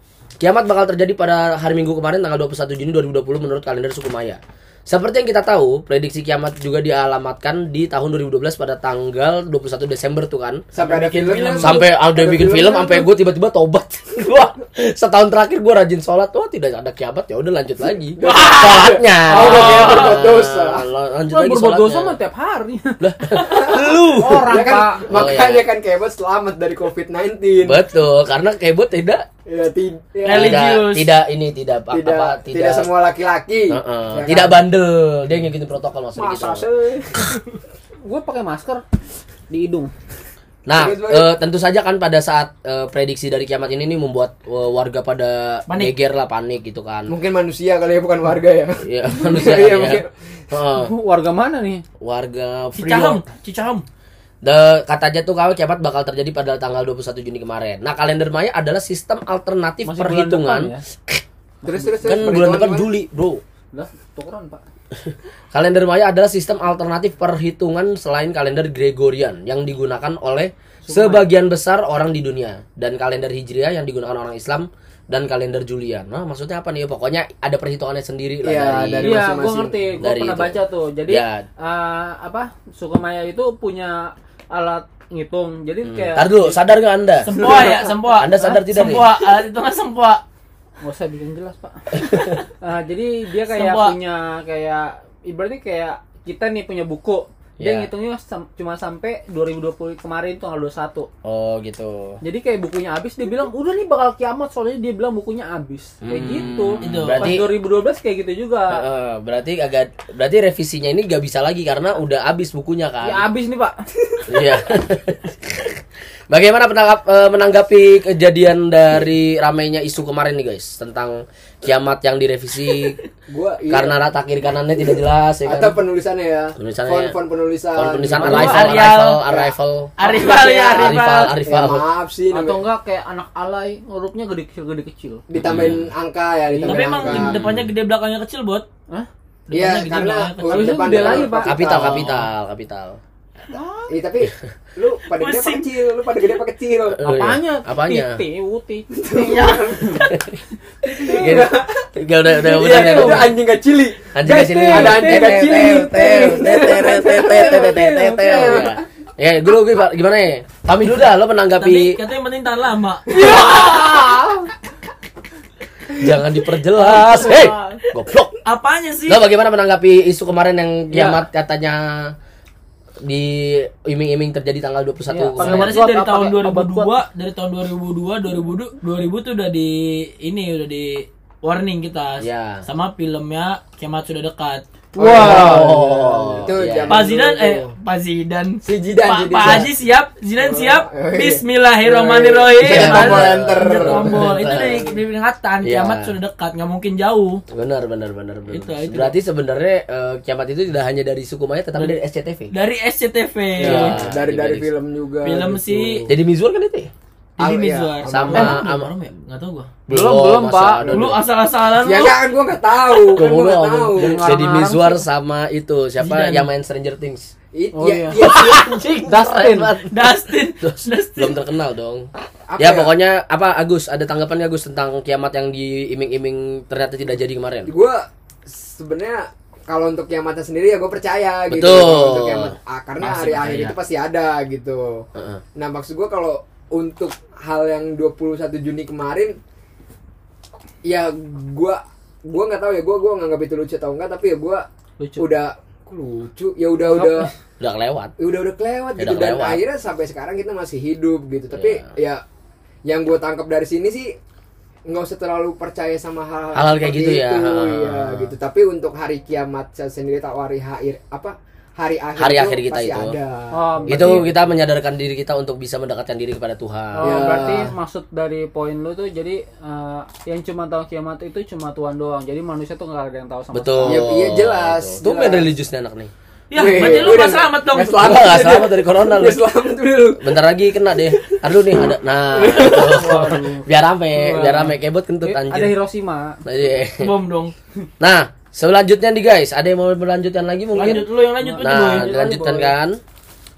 [SPEAKER 3] Kiamat bakal terjadi pada hari Minggu kemarin tanggal 21 Juni 2020 menurut kalender suku Maya. Seperti yang kita tahu, prediksi kiamat juga dialamatkan di tahun 2012 pada tanggal 21 Desember tuh kan.
[SPEAKER 1] Sampai ada filmnya.
[SPEAKER 3] Sampai ada bikin film, sampai gue tiba-tiba tobat. (laughs) Gua setahun terakhir gue rajin sholat, wah tidak ada kiamat ya udah lanjut lagi. Sholatnya.
[SPEAKER 1] Oh, udah kayak berbuat dosa.
[SPEAKER 3] Lanjut
[SPEAKER 4] Lu
[SPEAKER 3] lagi
[SPEAKER 4] berbuat
[SPEAKER 3] sholatnya.
[SPEAKER 4] dosa mah tiap hari. (laughs)
[SPEAKER 3] Lu.
[SPEAKER 4] Uh, Orang
[SPEAKER 1] Ya kan,
[SPEAKER 4] pak.
[SPEAKER 3] Oh,
[SPEAKER 1] makanya
[SPEAKER 3] iya.
[SPEAKER 1] kan kiamat selamat dari COVID-19.
[SPEAKER 3] Betul, karena kebo tidak
[SPEAKER 1] Ya, ti- ya,
[SPEAKER 2] Religius.
[SPEAKER 3] tidak tidak ini tidak apa
[SPEAKER 1] tidak,
[SPEAKER 3] apa
[SPEAKER 1] tidak semua laki-laki.
[SPEAKER 3] Heeh.
[SPEAKER 1] Ya kan?
[SPEAKER 3] tidak bandel. Dia ngikutin protokol maksudnya gitu.
[SPEAKER 1] Masa sih?
[SPEAKER 4] Gue pakai masker di hidung.
[SPEAKER 3] Nah,
[SPEAKER 1] Terus, Bang.
[SPEAKER 3] eh, tentu saja kan pada saat eh, prediksi dari kiamat ini nih membuat eh, warga pada
[SPEAKER 2] Panik.
[SPEAKER 3] geger lah panik gitu kan.
[SPEAKER 1] Mungkin manusia kali ya bukan warga ya. (laughs)
[SPEAKER 3] Ya, manusia
[SPEAKER 1] Iya,
[SPEAKER 3] ya.
[SPEAKER 1] mungkin.
[SPEAKER 3] Heeh.
[SPEAKER 4] Warga mana nih?
[SPEAKER 3] warga
[SPEAKER 2] Cicahem,
[SPEAKER 3] Priok.
[SPEAKER 2] Cicahem.
[SPEAKER 3] The, katanya tuh kalau kiamat bakal terjadi pada tanggal 21 Juni kemarin. Nah, kalender Maya adalah sistem alternatif
[SPEAKER 4] Masih bulan
[SPEAKER 3] perhitungan.
[SPEAKER 4] depan ya?
[SPEAKER 1] Terus terus
[SPEAKER 3] Kan
[SPEAKER 1] terus,
[SPEAKER 3] bulan
[SPEAKER 1] perhitungan
[SPEAKER 3] depan
[SPEAKER 1] gimana?
[SPEAKER 3] Juli, Bro.
[SPEAKER 4] Lah, tukeran pak.
[SPEAKER 3] Kalender Maya adalah sistem alternatif perhitungan selain kalender Gregorian yang digunakan oleh sebagian besar orang di dunia dan kalender Hijriah yang digunakan orang Islam dan kalender Julian. Nah, maksudnya apa nih? Pokoknya ada perhitungannya sendiri lah
[SPEAKER 1] Iya,
[SPEAKER 3] dari,
[SPEAKER 1] dari
[SPEAKER 4] Iya, gue
[SPEAKER 1] masing-masing.
[SPEAKER 4] ngerti. Gue
[SPEAKER 3] Dari
[SPEAKER 4] pernah
[SPEAKER 3] itu.
[SPEAKER 4] baca tuh. Jadi
[SPEAKER 3] Ya.
[SPEAKER 4] eh, apa? Sukamaya itu punya alat ngitung. Jadi kayak
[SPEAKER 3] Ntar Hmm. dulu, sadar nggak Anda? (laughs)
[SPEAKER 2] Sempoa ya, sempoa.
[SPEAKER 3] Anda sadar tidak nih?
[SPEAKER 2] Sempoa, alat itu kan sempoa.
[SPEAKER 4] nggak usah bikin jelas
[SPEAKER 3] (laughs)
[SPEAKER 4] pak. Eh, jadi dia kayak
[SPEAKER 2] Semua.
[SPEAKER 4] punya kayak ibaratnya kayak kita nih punya buku. Dia
[SPEAKER 3] Iya.
[SPEAKER 4] ngitungnya sam- cuma sampai 2020 kemarin tuh tanggal 21.
[SPEAKER 3] Oh, gitu.
[SPEAKER 4] Jadi kayak bukunya habis dia bilang udah nih bakal kiamat soalnya dia bilang bukunya habis. Kayak
[SPEAKER 3] Hmm,
[SPEAKER 4] gitu.
[SPEAKER 2] itu.
[SPEAKER 3] Berarti-
[SPEAKER 4] Pas 2012 kayak gitu juga.
[SPEAKER 3] Heeh, berarti agak berarti revisinya ini gak bisa lagi karena udah habis bukunya
[SPEAKER 4] Ya
[SPEAKER 3] kan.
[SPEAKER 4] habis nih
[SPEAKER 3] (laughs)
[SPEAKER 4] pak.
[SPEAKER 3] Iya. Bagaimana penanggap- eh, menanggapi kejadian dari ramainya isu kemarin nih guys tentang kiamat yang direvisi
[SPEAKER 1] Gua iya.
[SPEAKER 3] karena rata kiri kanannya tidak jelas ya kan.
[SPEAKER 1] atau penulisannya ya.
[SPEAKER 3] Penulisannya
[SPEAKER 1] font,
[SPEAKER 3] ya.
[SPEAKER 1] font penulisan.
[SPEAKER 3] Font penulisan
[SPEAKER 1] Gimana?
[SPEAKER 2] Arial.
[SPEAKER 3] arrival, arrival, arrival, Iya,
[SPEAKER 2] Arifal ya,
[SPEAKER 3] arrival,
[SPEAKER 1] Ya,
[SPEAKER 2] Arifal.
[SPEAKER 3] arrival.
[SPEAKER 1] maaf sih
[SPEAKER 4] Atau
[SPEAKER 1] namanya.
[SPEAKER 4] enggak kayak anak alay hurufnya gede kecil gede kecil.
[SPEAKER 1] ditambahin angka
[SPEAKER 3] Iya,
[SPEAKER 1] ya ditambahin
[SPEAKER 2] Tapi emang
[SPEAKER 1] angka.
[SPEAKER 3] kan.
[SPEAKER 2] depannya gede belakangnya kecil, Bot.
[SPEAKER 4] Hah?
[SPEAKER 1] Iya,
[SPEAKER 2] Depannya gede
[SPEAKER 1] karena
[SPEAKER 2] belakangnya kecil.
[SPEAKER 1] huruf
[SPEAKER 4] Habisnya
[SPEAKER 1] depan
[SPEAKER 4] gede
[SPEAKER 1] dan
[SPEAKER 4] lagi,
[SPEAKER 1] huruf
[SPEAKER 4] Pak.
[SPEAKER 3] Kapital, kapital, kapital.
[SPEAKER 1] Iya, tapi lu pada gede apa
[SPEAKER 2] Pusing.
[SPEAKER 1] kecil? Lu pada gede apa kecil?
[SPEAKER 3] Eh,
[SPEAKER 4] Apanya?
[SPEAKER 3] Apanya?
[SPEAKER 4] Titi, uti.
[SPEAKER 3] Gini. Gak udah udah udah.
[SPEAKER 1] Iya,
[SPEAKER 3] udah,
[SPEAKER 1] itu
[SPEAKER 3] udah.
[SPEAKER 1] anjing kecil.
[SPEAKER 3] Anjing kecil.
[SPEAKER 1] Ada anjing
[SPEAKER 4] Tete,
[SPEAKER 1] kecil.
[SPEAKER 3] Ya. Ya, gue gue gimana ya? Kami dulu dah lo
[SPEAKER 2] Tapi
[SPEAKER 3] menanggapi
[SPEAKER 2] katanya yang penting tahan lama.
[SPEAKER 3] jangan diperjelas. Hei, goblok.
[SPEAKER 2] Apanya sih?
[SPEAKER 3] Lo bagaimana menanggapi isu kemarin yang kiamat katanya di iming-iming terjadi tanggal 21
[SPEAKER 4] Iya,
[SPEAKER 3] kemarin.
[SPEAKER 4] pakai
[SPEAKER 2] Sebenarnya sih dari
[SPEAKER 4] Obat kuat,
[SPEAKER 2] tahun
[SPEAKER 4] pakai obat
[SPEAKER 2] 2002, dari tahun 2002, 2000, 2000 tuh udah di ini udah di warning kita
[SPEAKER 3] Iya.
[SPEAKER 2] sama filmnya Kemat sudah dekat.
[SPEAKER 3] Wow.
[SPEAKER 1] Itu
[SPEAKER 3] Iya.
[SPEAKER 1] zaman
[SPEAKER 2] Pak Zidan
[SPEAKER 1] dulu
[SPEAKER 2] eh
[SPEAKER 1] tuh.
[SPEAKER 2] Pak Zidan.
[SPEAKER 1] Si Zidane,
[SPEAKER 2] Pak,
[SPEAKER 1] si
[SPEAKER 2] Pak
[SPEAKER 1] Zidane.
[SPEAKER 2] Haji siap, Zidan
[SPEAKER 1] Oh,
[SPEAKER 2] siap.
[SPEAKER 1] oh, iya.
[SPEAKER 2] Bismillahirrahmanirrahim.
[SPEAKER 1] Pencet tombol
[SPEAKER 2] Ada-
[SPEAKER 1] enter.
[SPEAKER 2] pencet tombol. Itu dari peringatan
[SPEAKER 3] Iya.
[SPEAKER 2] kiamat sudah dekat, nggak mungkin jauh.
[SPEAKER 3] Benar, benar, benar, benar.
[SPEAKER 2] Itu, itu.
[SPEAKER 3] Berarti sebenarnya eh, kiamat itu tidak hanya dari suku Maya tetapi dari SCTV.
[SPEAKER 2] Dari SCTV.
[SPEAKER 3] Iya.
[SPEAKER 1] dari dari
[SPEAKER 3] Dibanding-
[SPEAKER 1] film juga.
[SPEAKER 2] Film
[SPEAKER 1] gitu.
[SPEAKER 2] si
[SPEAKER 3] Jadi Mizwar kan itu ya?
[SPEAKER 2] Deddy
[SPEAKER 1] Al- iya.
[SPEAKER 2] Mizwar.
[SPEAKER 3] Sama-
[SPEAKER 2] Eh, bukan
[SPEAKER 3] sama-
[SPEAKER 2] Almarhum ya? Nggak tahu gua.
[SPEAKER 4] Belum,
[SPEAKER 1] Oh,
[SPEAKER 4] belum,
[SPEAKER 3] masa
[SPEAKER 4] Pak.
[SPEAKER 3] ada
[SPEAKER 2] Lu
[SPEAKER 3] dua.
[SPEAKER 2] asal-asalan
[SPEAKER 1] Ya
[SPEAKER 2] lu.
[SPEAKER 1] kan gua enggak tahu, kan gua
[SPEAKER 3] Belum,
[SPEAKER 1] enggak tahu.
[SPEAKER 3] belum. Jadi
[SPEAKER 4] Ngarang-ngarang
[SPEAKER 3] Mizwar sama itu siapa
[SPEAKER 2] Zidane.
[SPEAKER 3] yang main Stranger Things?
[SPEAKER 1] It-
[SPEAKER 4] Oh,
[SPEAKER 1] ya-
[SPEAKER 4] iya.
[SPEAKER 1] ya-
[SPEAKER 3] Anjing,
[SPEAKER 4] (laughs) Dustin.
[SPEAKER 3] keren banget.
[SPEAKER 2] Dustin,
[SPEAKER 3] Terus,
[SPEAKER 2] Dustin.
[SPEAKER 3] belum terkenal dong.
[SPEAKER 1] Apa
[SPEAKER 3] ya,
[SPEAKER 1] ya?
[SPEAKER 3] pokoknya apa Agus ada tanggapan nggak, Agus tentang kiamat yang diiming-iming ternyata tidak jadi kemarin?
[SPEAKER 1] gue sebenarnya kalau untuk kiamatnya sendiri ya gue percaya gitu
[SPEAKER 3] Betul.
[SPEAKER 1] Kalau untuk kiamat ah, karena
[SPEAKER 2] Pasti
[SPEAKER 1] hari akhir
[SPEAKER 2] percaya.
[SPEAKER 1] itu pasti ada gitu
[SPEAKER 3] Heeh.
[SPEAKER 1] nah maksud gue kalau untuk hal yang 21 Juni kemarin ya gue gue nggak tahu ya gue gue nganggap itu lucu atau enggak tapi ya gue
[SPEAKER 4] Lucu.
[SPEAKER 1] udah kok lucu ya udah udah
[SPEAKER 3] Udah kelewat.
[SPEAKER 1] ya udah udah kelewat
[SPEAKER 3] Ya
[SPEAKER 1] gitu
[SPEAKER 3] udah
[SPEAKER 1] dan
[SPEAKER 3] kelewat. Iya.
[SPEAKER 1] akhirnya sampai sekarang kita masih hidup gitu tapi ya yang gue tangkap dari sini sih nggak usah terlalu percaya sama hal
[SPEAKER 3] Hal-hal kayak
[SPEAKER 1] seperti
[SPEAKER 3] gitu ya.
[SPEAKER 1] itu,
[SPEAKER 3] Ha.
[SPEAKER 1] iya, gitu tapi untuk hari kiamat saya sendiri tak hari akhir apa hari akhir
[SPEAKER 3] Hari
[SPEAKER 1] itu
[SPEAKER 3] akhir kita
[SPEAKER 1] pasti
[SPEAKER 3] itu.
[SPEAKER 1] ada
[SPEAKER 4] Oh,
[SPEAKER 3] Itu
[SPEAKER 4] berarti-
[SPEAKER 3] kita menyadarkan diri kita untuk bisa mendekatkan diri kepada
[SPEAKER 4] Oh,
[SPEAKER 3] Tuhan.
[SPEAKER 1] Ya.
[SPEAKER 4] berarti maksud dari poin lu tuh jadi eh, yang cuma tahu kiamat itu cuma Tuhan doang. Jadi manusia tuh nggak ada yang tahu sama
[SPEAKER 3] Betul.
[SPEAKER 1] Iya, iya, jelas,
[SPEAKER 3] Tuh
[SPEAKER 1] jelas.
[SPEAKER 3] religius nih anak nih.
[SPEAKER 2] Ya,
[SPEAKER 1] Wih,
[SPEAKER 2] berarti lu
[SPEAKER 1] udah
[SPEAKER 2] nggak selamat dong.
[SPEAKER 1] nggak selamat,
[SPEAKER 3] Nggak
[SPEAKER 1] udah.
[SPEAKER 3] selamat dari corona, lu.
[SPEAKER 1] Nggak (laughs) Iya, selamat dulu
[SPEAKER 3] Bentar lagi kena deh. Aduh nih ada.
[SPEAKER 1] (laughs)
[SPEAKER 3] Nah, (laughs) itu. biar rame, biar rame kebot kentut
[SPEAKER 4] sekali. Eh, Ada
[SPEAKER 3] anjir.
[SPEAKER 4] Hiroshima.
[SPEAKER 3] Iya.
[SPEAKER 2] Bom dong.
[SPEAKER 3] Nah, selanjutnya nih guys, ada yang mau berlanjutan lagi mungkin?
[SPEAKER 2] Lanjut lu yang lanjut lu
[SPEAKER 3] Nah,
[SPEAKER 2] Boy.
[SPEAKER 3] lanjutan kan.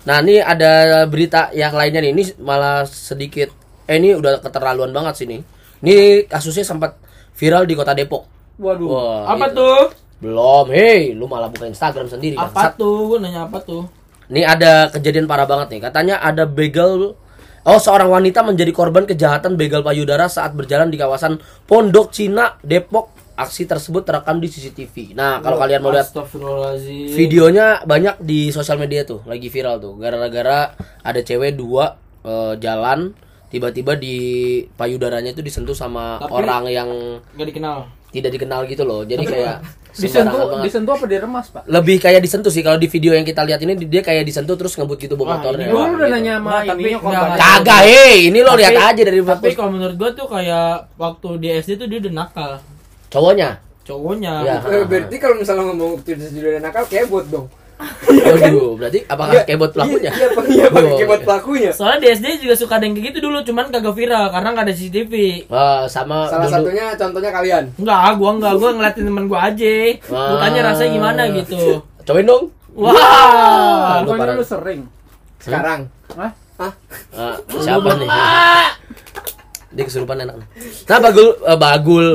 [SPEAKER 3] Nah, ini ada berita yang lainnya nih. Ini malah sedikit eh ini udah keterlaluan banget sih ini. Ini kasusnya sempat viral di Kota Depok.
[SPEAKER 4] Waduh.
[SPEAKER 3] Wah,
[SPEAKER 2] Apa
[SPEAKER 3] itu.
[SPEAKER 2] tuh?
[SPEAKER 3] Belum. Hei, lu malah buka Instagram sendiri.
[SPEAKER 2] Apa
[SPEAKER 3] bangsat.
[SPEAKER 2] tuh? Gua nanya apa tuh?
[SPEAKER 3] Ini ada kejadian parah banget nih. Katanya ada begal Oh, seorang wanita menjadi korban kejahatan begal payudara saat berjalan di kawasan Pondok Cina, Depok. Aksi tersebut terekam di CCTV. Nah, kalau kalian mau lihat
[SPEAKER 2] Astagfirullahaladzim.
[SPEAKER 3] videonya banyak di sosial media tuh lagi viral tuh gara-gara ada cewek dua eh, jalan tiba-tiba di payudaranya itu disentuh sama
[SPEAKER 2] Tapi-
[SPEAKER 3] orang yang
[SPEAKER 2] Gak dikenal.
[SPEAKER 3] tidak dikenal gitu loh jadi kayak sembarangan
[SPEAKER 4] Disentuh,
[SPEAKER 3] banget.
[SPEAKER 4] disentuh apa diremas, Pak?
[SPEAKER 3] lebih kayak disentuh sih kalau di video yang kita lihat ini dia kayak disentuh terus ngebut gitu bawa
[SPEAKER 2] Wah,
[SPEAKER 3] motornya
[SPEAKER 1] Ya,
[SPEAKER 2] ini
[SPEAKER 4] Lu
[SPEAKER 2] Wah,
[SPEAKER 4] udah
[SPEAKER 3] gitu.
[SPEAKER 4] nanya sama
[SPEAKER 2] Nah, tapi
[SPEAKER 4] ininya
[SPEAKER 2] nggak-
[SPEAKER 4] korbannya.
[SPEAKER 3] kagak hei ini lo lihat aja dari
[SPEAKER 2] Tapi
[SPEAKER 3] foto
[SPEAKER 2] kalau menurut gua tuh kayak waktu di SD tuh dia udah nakal.
[SPEAKER 3] cowoknya
[SPEAKER 2] Cowoknya.
[SPEAKER 3] Iya.
[SPEAKER 1] Eh, berarti kalau misalnya ngomong tidak judul nakal kebot dong
[SPEAKER 3] Waduh, berarti apakah
[SPEAKER 1] Iya,
[SPEAKER 3] Ah, kebot pelakunya
[SPEAKER 1] iya Pak, iya Pak,
[SPEAKER 3] Oh.
[SPEAKER 1] kebot pelakunya
[SPEAKER 2] Soalnya di SD juga suka ada yang kayak gitu dulu, cuman kagak viral karena nggak ada CCTV.
[SPEAKER 3] Wah, sama
[SPEAKER 1] salah
[SPEAKER 3] dulu-
[SPEAKER 1] satunya contohnya kalian
[SPEAKER 2] Enggak, ah, gua enggak, gua ngeliatin temen gua aja. Gua
[SPEAKER 3] Wah.
[SPEAKER 2] tanya rasanya gimana
[SPEAKER 3] (laughs)
[SPEAKER 2] gitu.
[SPEAKER 3] cobain dong
[SPEAKER 2] Wah.
[SPEAKER 4] Bukannya
[SPEAKER 3] parah.
[SPEAKER 4] lu sering.
[SPEAKER 3] Hmm?
[SPEAKER 1] sekarang
[SPEAKER 4] Hah?
[SPEAKER 1] Hah?
[SPEAKER 3] Ah, siapa nih? Dia kesurupan enak. nih. Nah, Bagul eh, Bagul.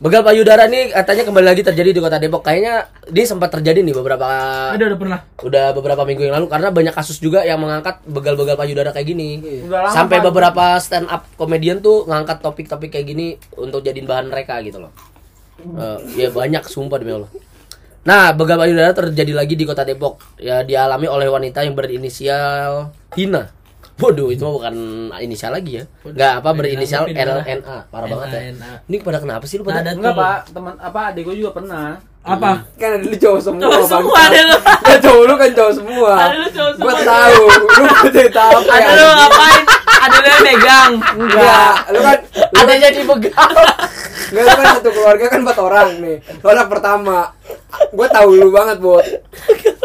[SPEAKER 3] Begal payudara nih katanya kembali lagi terjadi di Kota Depok. Kayaknya dia sempat terjadi nih beberapa
[SPEAKER 2] Ada udah pernah.
[SPEAKER 3] udah beberapa minggu yang lalu karena banyak kasus juga yang mengangkat begal-begal payudara kayak gini.
[SPEAKER 4] Udah lama, kan?
[SPEAKER 3] Sampai
[SPEAKER 4] Pak.
[SPEAKER 3] beberapa stand up komedian tuh ngangkat topik-topik kayak gini untuk jadiin bahan mereka gitu loh. Eh, ya banyak sumpah demi Allah. Nah, begal payudara terjadi lagi di Kota Depok. Ya dialami oleh wanita yang berinisial Tina. Waduh, itu mah bukan inisial lagi ya. Enggak apa berinisial
[SPEAKER 2] tapi Dina.
[SPEAKER 3] LNA. Parah banget ya.
[SPEAKER 2] LNA.
[SPEAKER 3] Ini pada kenapa sih lu pada?
[SPEAKER 2] Ada tuh.
[SPEAKER 4] Enggak, Pak. Teman apa adik gua juga pernah.
[SPEAKER 2] Apa?
[SPEAKER 1] kan ada lu cowok semua
[SPEAKER 2] Cowok semua
[SPEAKER 1] Bang.
[SPEAKER 2] ada lu.
[SPEAKER 1] Ya, cowok lu kan cowok semua
[SPEAKER 2] Ada lu cowok
[SPEAKER 1] gue
[SPEAKER 2] semua.
[SPEAKER 1] tahu lu pasti tahu apa
[SPEAKER 2] Ada
[SPEAKER 1] yang-
[SPEAKER 2] lu ngapain? Ada lu yang megang.
[SPEAKER 1] Enggak, lu kan lu
[SPEAKER 3] Ada jadi begal.
[SPEAKER 1] Enggak, lu kan satu keluarga kan empat orang nih. Lu anak pertama. Gue tahu lu banget, Bot.